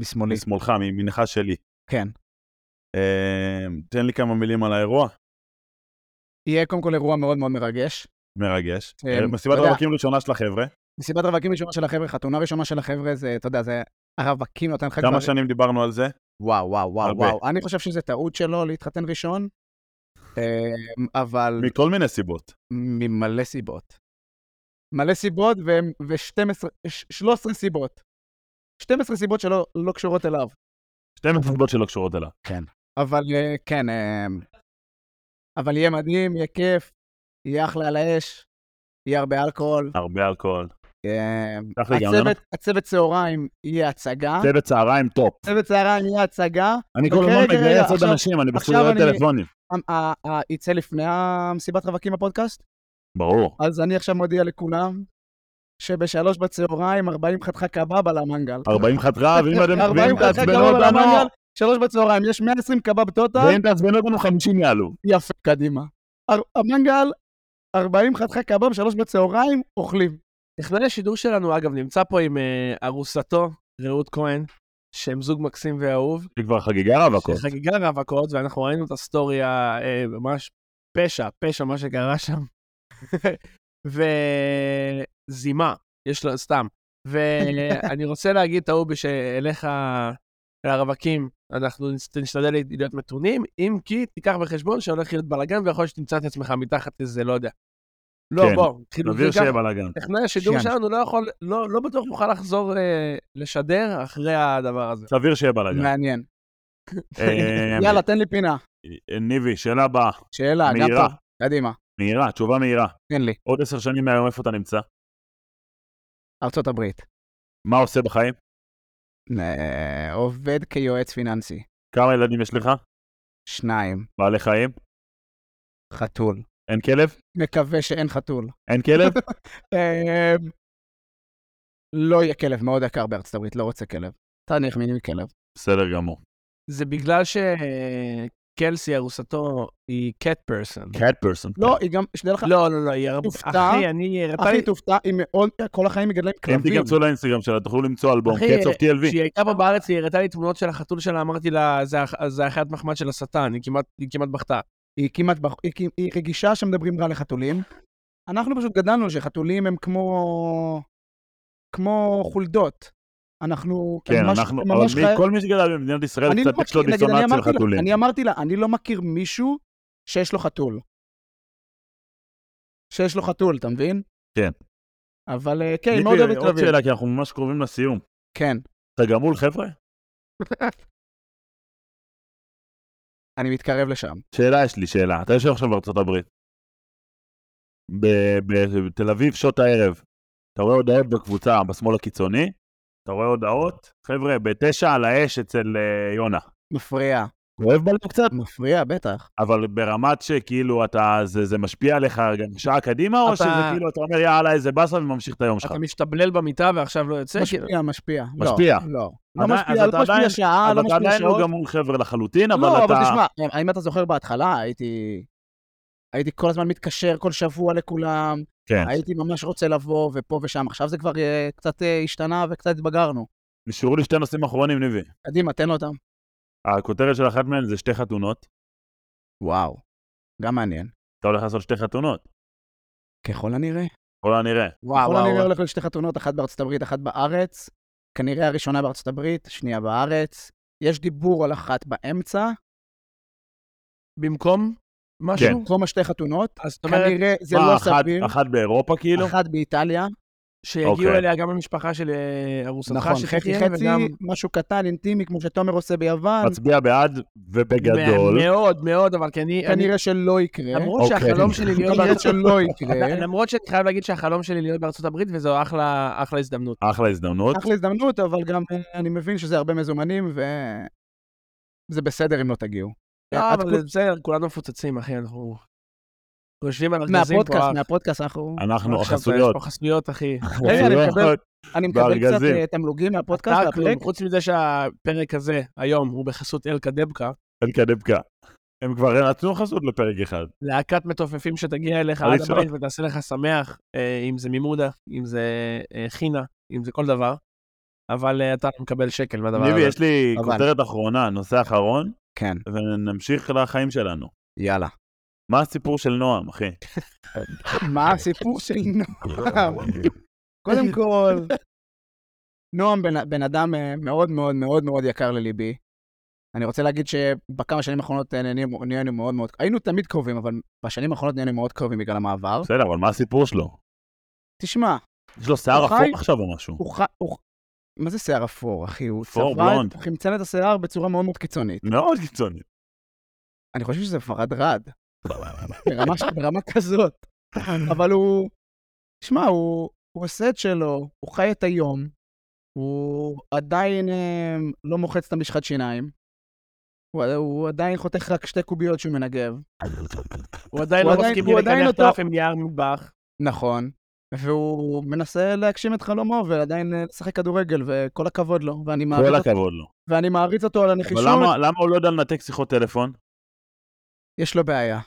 משמאלי. משמאלך, מימינך שלי. כן. אה, תן לי כמה מילים על האירוע, יהיה קודם כל אירוע מאוד מאוד מרגש. מרגש. כן, אה, מסיבת אתה יודע. רווקים ראשונה של החבר'ה, מסיבת רווקים ראשונה של החבר'ה, חתונה ראשונה של החבר'ה, זה, אתה יודע, זה הרווקים נותן לך כבר... כמה שנים דיברנו על זה? וואו, וואו, וואו, הרבה. וואו. אני חושב שזו טעות שלו להתחתן ראשון, אמ, אבל מכל מיני סיבות. ממלא סיבות. מלא סיבות ו-12, 13 סיבות. 12 סיבות שלא לא קשורות אליו. שתי אוקיי. מסיבות שלא קשורות אליו. אבל אה, כן, אמ, אבל יהיה מדהים, יהיה כיף, יהיה אחלה על האש, יהיה הרבה אלכוהול. הרבה אלכוהול. אמ, קח לי גם, יונה. הצוות- הצוות צהריים יהיה הצגה. צוות צהריים טופ. צוות צהריים יהיה הצגה. אני כל אוקיי, רגע, הזמן רגע, מגייס עוד עכשיו- אנשים, אני פשוט עכשיו רואה אני- טלפונים. אמ, ה- ה- ה- יצא לפני המסיבת רווקים הפודקאסט, ברור. אז אני עכשיו מודיע לכולם שבשלוש בצהריים 40 חתיכה קבב על המנגל. 40 חתרה, ואם אתם 40 ואם חתיכה תעצבנו קבב על המנגל, אותנו, שלוש בצהריים, יש 120 קבב טוטל, ואם תעצבנו אותנו 50 יעלו. יפה, קדימה. הר- המנגל, 40 חתיכה קבב, שלוש בצהריים, אוכלים. טכנאי השידור שלנו, אגב, נמצא פה עם אה, ארוסתו, רעות כהן, שהם זוג מקסים ואהוב. זה כבר חגיגה רווקות. חגיגה רווקות, ואנחנו ראינו את הסטורי, ה- אה, ממש פשע, פשע מה שקרה שם. וזימה, יש לו, סתם. ואני רוצה להגיד, טעובי, שאליך, לרווקים, אנחנו נס- נשתדל להיות מתונים, אם כי תיקח בחשבון שהולך להיות בלאגן, ויכול להיות שתמצא את עצמך מתחת לזה, לא יודע. לא, כן, בוא, כאילו, נבהיר זה גם- שיהיה בלאגן. טכנאי השידור שיאן. שלנו לא יכול, לא, לא בטוח יוכל לחזור אה, לשדר אחרי הדבר הזה. סביר שיהיה בלאגן. מעניין. אה, יאללה, תן לי פינה. ניבי, שאלה הבאה, שאלה, גם מהירה. טוב. קדימה, מהירה, תשובה מהירה. תן לי. עוד עשר שנים מהיום איפה אתה נמצא? ארצות הברית. מה עושה בחיים? נה, אה, עובד כיועץ פיננסי. כמה ילדים יש לך? שניים. בעלי חיים? חתול. אין כלב? מקווה שאין חתול. אין כלב? אמ, לא יהיה כלב, מאוד יקר בארצות הברית, לא רוצה כלב. תניח מיני כלב. בסדר גמור. זה בגלל שקלסי, ארוסתו, היא cat person. cat person. לא, היא גם, שתדע לך, לא, לא, לא, היא הרבה... תופתע. אחי, אני הראתה לי... אחי כן, תופתע, היא מאוד, כל החיים מגדלים אם כלבים. תיכנסו לאינסטגרם שלה, תוכלו למצוא אלבום, אחי, קץ אוף TLV. כשהיא הייתה פה בארץ, היא הראתה לי תמונות של החתול שלה, אמרתי לה, "זה הח- זה אחיית מחמד של השטן, היא כמעט- היא כמעט בכתה. היא כמעט, בח- היא כ- היא רגישה שמדברים רע לחתולים. אנחנו פשוט גדלנו שחתולים הם כמו, כמו חולדות. אנחנו כן, ממש- אנחנו, אבל ממש מי- חי- כל מי שגדל במדינת ישראל, אני לא קצת יש לו מכיר- נגיד, אני דיסוננס של אמרתי לה- חתולים. אני אמרתי לה, אני לא מכיר מישהו שיש לו חתול. שיש לו חתול, אתה מבין? כן. אבל אה, כן, היא ניבי, מאוד אוהבת עוד כלבים. שאלה, כי אנחנו ממש קרובים לסיום. כן. אתה גמול, חבר'ה? אני מתקרב לשם. שאלה יש לי, שאלה. אתה יושב עכשיו בארצות הברית. ב- ב- בתל אביב, שעות הערב. אתה רואה הודעות בקבוצה בשמאל הקיצוני, אתה רואה הודעות, חבר'ה, בתשע על האש אצל אה, יונה. מפריע. כואב בלב קצת, מפריע, בטח. אבל ברמת שכאילו אתה, זה, זה משפיע עליך גם שעה קדימה, או אתה- שזה כאילו אתה אומר יאללה איזה באסה וממשיך את היום שלך. אתה משתבלל במיטה ועכשיו לא יוצא, כאילו. נכון. משפיע, משפיע. לא, משפיע. לא. לא עדיין- אז משפיע, אתה לא משפיע עדיין- שעה, אבל לא אתה משפיע עדיין לא שעות. גמור חבר'ה לחלוטין, אבל לא, אתה... אבל תשמע, האם אתה זוכר בהתחלה, הייתי... הייתי כל הזמן מתקשר כל שבוע לכולם, כן, הייתי ממש רוצה לבוא ופה ושם. עכשיו זה כבר אה, קצת אה, השתנה וקצת התבגרנו. נשארו לי שתי נושאים אחרונים, ניבי. קדימה, תן לו אותם. הכותרת של אחת מהן זה שתי חתונות. וואו, גם מעניין. אתה הולך לעשות שתי חתונות, ככל הנראה. ככל הנראה. וואו, ככל וואו, הנראה וואו. הולך לשתי חתונות, אחת בארצות הברית, אחת בארץ. כנראה הראשונה בארצות הברית, שנייה בארץ. יש דיבור על אחת באמצע. במקום משהו? במקום השתי חתונות, אז זאת אומרת, כנראה זה מה, לא אחת- סביר. אחת באירופה כאילו? אחת באיטליה. שיגיעו אוקיי. אליה גם המשפחה של אה, ארוסתך, נכון, חצי שתחיה, חצי, וגם... משהו קטן, אינטימי, כמו שתומר עושה ביוון. מצביע בעד ובגדול. מאוד, מאוד, אבל כי אני... אני- כנראה שלא יקרה. למרות אוקיי. שהחלום שלי להיות כנראה בארצות... שלא יקרה. למרות שאני חייב להגיד שהחלום שלי להיות בארצות הברית, וזו אחלה, אחלה הזדמנות. אחלה הזדמנות. אחלה הזדמנות, אבל גם אה, אני מבין שזה הרבה מזומנים, וזה בסדר אם לא תגיעו. אה, לא, עד אבל כה- זה בסדר, כולנו מפוצצים, אחי, אנחנו... אנחנו יושבים על ארגזים פה, מהפודקאסט, אח. מהפודקאסט אנחנו... אנחנו עכשיו, החסויות. יש פה חסויות, אחי. רגע, אני חסויות. מקבל- אני מקבל קצת בארגזים. אה, תמלוגים מהפודקאסט, אתה והפרק. כלום, חוץ מזה שהפרק הזה, היום, הוא בחסות אלקה דבקה, אלקה דבקה. הם כבר רצו חסות לפרק אחד. להקת מתופפים שתגיע אליך עד הראשון. הבית ותעשה לך שמח, אה, אם זה מימודה, אם זה אה, חינה, אם זה כל דבר, אבל אה, אתה לא מקבל שקל מהדבר ניבי, הזה. יש לי אבל- כותרת אחרונה, נושא אחרון, כן, ונמשיך לחיים שלנו. יאללה. מה הסיפור של נועם, אחי? מה הסיפור של נועם? קודם כל, נועם בן, בן אדם אה, מאוד מאוד מאוד מאוד יקר לליבי. אני רוצה להגיד שבכמה שנים האחרונות אה, נהיינו נהיינו מאוד מאוד, היינו תמיד קרובים, אבל בשנים האחרונות נהיינו מאוד קרובים בגלל המעבר. בסדר, אבל מה הסיפור שלו? תשמע, יש לו שיער הוא חי- אפור עכשיו או משהו? הוא ח... הוא... מה זה שיער אפור, אחי? הוא אפור, צבע, בלונד. הוא חמצן את השיער בצורה מאוד מאוד קיצונית. מאוד קיצוני. אני חושב שזה ורד רד. ברמה, ברמה כזאת. כן. אבל הוא... שמע, הוא, הוא עושה את שלו, הוא חי את היום, הוא עדיין אה, לא מוחץ את המשחת שיניים, הוא, הוא עדיין חותך רק שתי קוביות שהוא מנגב. הוא עדיין הוא לא עדיין- מסכים הוא עדיין לקנח אותו- דף עם נייר מטבח. נכון. והוא מנסה להגשים את חלומו ועדיין אה, לשחק כדורגל, וכל הכבוד לו, ואני מעריץ, כל אותו, הכבוד לו. ואני מעריץ אותו על אבל הנחישות. למה- למה הוא לא יודע לנתק שיחות טלפון? יש לו בעיה.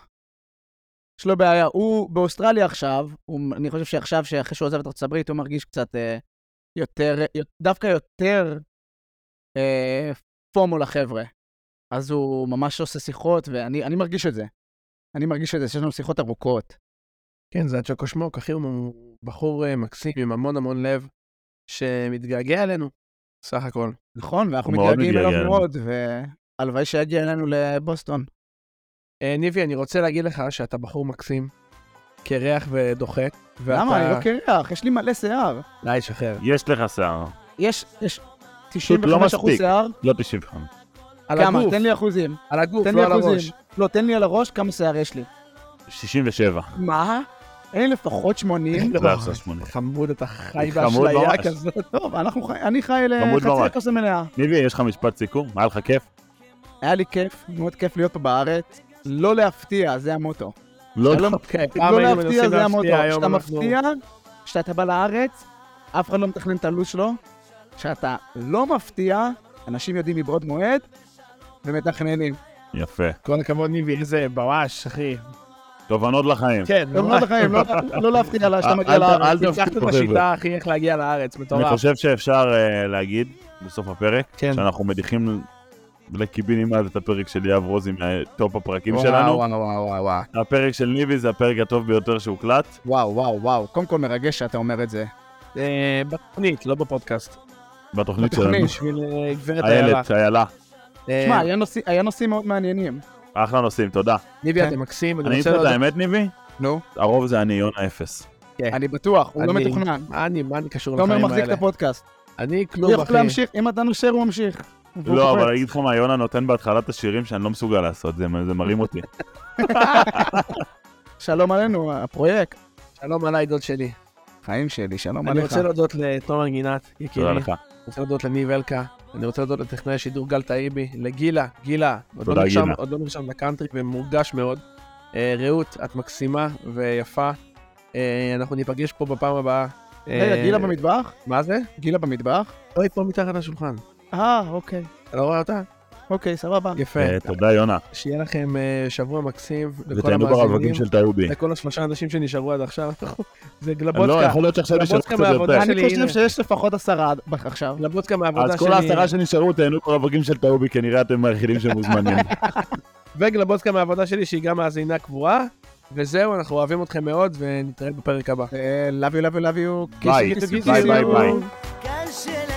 יש לו בעיה. הוא באוסטרליה עכשיו, הוא, אני חושב שעכשיו, שאחרי שהוא עוזב את ארצות הברית, הוא מרגיש קצת אה, יותר, יו- דווקא יותר אה, פומו לחבר'ה. אז הוא ממש עושה שיחות, ואני אני מרגיש את זה. אני מרגיש את זה, שיש לנו שיחות ארוכות. כן, זה הצ'וקו שמוק, אחי, הוא בחור אה, מקסים עם המון המון לב, שמתגעגע אלינו, סך הכל. נכון, ואנחנו הוא מאוד מתגעגעים מתגעגע אליו אלינו. מאוד, והלוואי שיגיע אלינו לבוסטון. אה, ניבי, אני רוצה להגיד לך שאתה בחור מקסים, קרח ודוחק, ואתה... למה? אני לא קרח, יש לי מלא שיער. די, שחרר. יש לך שיער. יש, יש 95% לא מספיק. שיער. לא 95. על כמה? הגוף, תן לי אחוזים. על הגוף, תן לי לא על אחוזים. הראש. לא, תן לי על הראש כמה שיער יש לי. 67. מה? אין לפחות 80. לא, אפס שמונה. חמוד, אתה חי חמוד באשליה ממש. כזאת. טוב, אנחנו חי- אני חי חמוד לחצי ממש. הכוס המלאה. ניבי, יש לך משפט סיכום? היה לך כיף? היה לי כיף, מאוד כיף להיות פה בארץ. לא להפתיע, זה המוטו. לא, שלום, כן, פעם לא היינו להפתיע מנסים זה המוטו. להפתיע, היום כשאתה אנחנו- מפתיע, כשאתה בא לארץ, אף אחד לא מתכנן את הלו"ז שלו. כשאתה לא מפתיע, אנשים יודעים מבעוד מועד ומתכננים. יפה. כל הכבוד ניבי, איזה בואש, אחי. כן, תובנות לחיים. כן, טוב מאוד ממש. אה, לחיים, לא- לא להפתיע לה שאתה אל- מגיע אל- לארץ. אל תבטיחו, פיתחת את חבר'ה. השיטה, אחי, איך להגיע לארץ, אני נכון. מטורף. חושב שאפשר אה, להגיד בסוף הפרק, כן. שאנחנו מדיחים לקיבינימט את הפרק של יהב רוזי מהטופ הפרקים וואו, שלנו. וואו, וואו, וואו, וואו. הפרק של ניבי זה הפרק הטוב ביותר שהוקלט. וואו, וואו, וואו, קודם כל מרגש שאתה אומר את זה. אה, בתוכנית, לא בפודקאסט. בתוכנית שלנו. בתוכנית. בשביל אה, גברת איילה. איילת, איילה. אה, תשמע, היה נושא- היה נושאים מאוד מעניינים. אחלה נושאים, תודה. ניבי, כן. אתם מקסים, אני אני אגיד רוצה לך את להודות. כן, האמת, ניבי? נו. הרוב זה אני, יונה אפס. אני בטוח, הוא לא אני- מתוכנן. מה אני, מה אני קשור תומר לחיים מחזיק האלה? את הפודקאסט. אני כלום, הוא אחי. יכול להמשיך, אם אתה נושר הוא ממשיך. והוא לא, קופץ. אבל אני אגיד לך מה, יונה נותן בהתחלה את השירים שאני לא מסוגל לעשות, זה זה מרים אותי. שלום עלינו, הפרויקט. שלום עליי, דוד שלי. חיים שלי, שלום אני עליך. רוצה להודות לתומר גינת, יקירי. תודה אני לך. רוצה להודות לניב אלקה. אני רוצה להודות לטכנאי השידור גל טעיבי, לגילה, גילה. עוד לא תודה, נרשם- גילה. עוד לא נרשם לקאנטרי ומורגש מאוד. אה, רעות, את מקסימה ויפה. אה, אנחנו ניפגש פה בפעם הבאה. רגע, אה, גילה במטבח? מה זה? גילה במטבח? אוי, פה מתחת לשולחן. אה, אוקיי. אתה לא רואה אותה? אוקיי, סבבה. יפה. אה, תודה, יונה. שיהיה לכם אה, שבוע מקסים. לכל ותהנו ברבבים המאזינים, של טיובי. לכל השלושה אנשים שנשארו עד עכשיו. זה לא, גלבוצקה. יכול להיות שעכשיו נשארו לבודקה קצת מהעבודה יותר. שלי. אני חושב הנה. שיש לפחות עשרה עד- עכשיו. גלבוצקה מהעבודה שלי. אז כל העשרה שנשארו, תהנו ברבבים של טיובי, כנראה אתם היחידים שמוזמנים. וגלבוצקה מהעבודה שלי שהיא גם מאזינה קבועה. וזהו, אנחנו אוהבים אתכם מאוד, ונתראה בפרק הבא. אה, love you, love you, love you. ביי, קיסי, קיסי, ביי, ביי, קיסי. ביי. קשה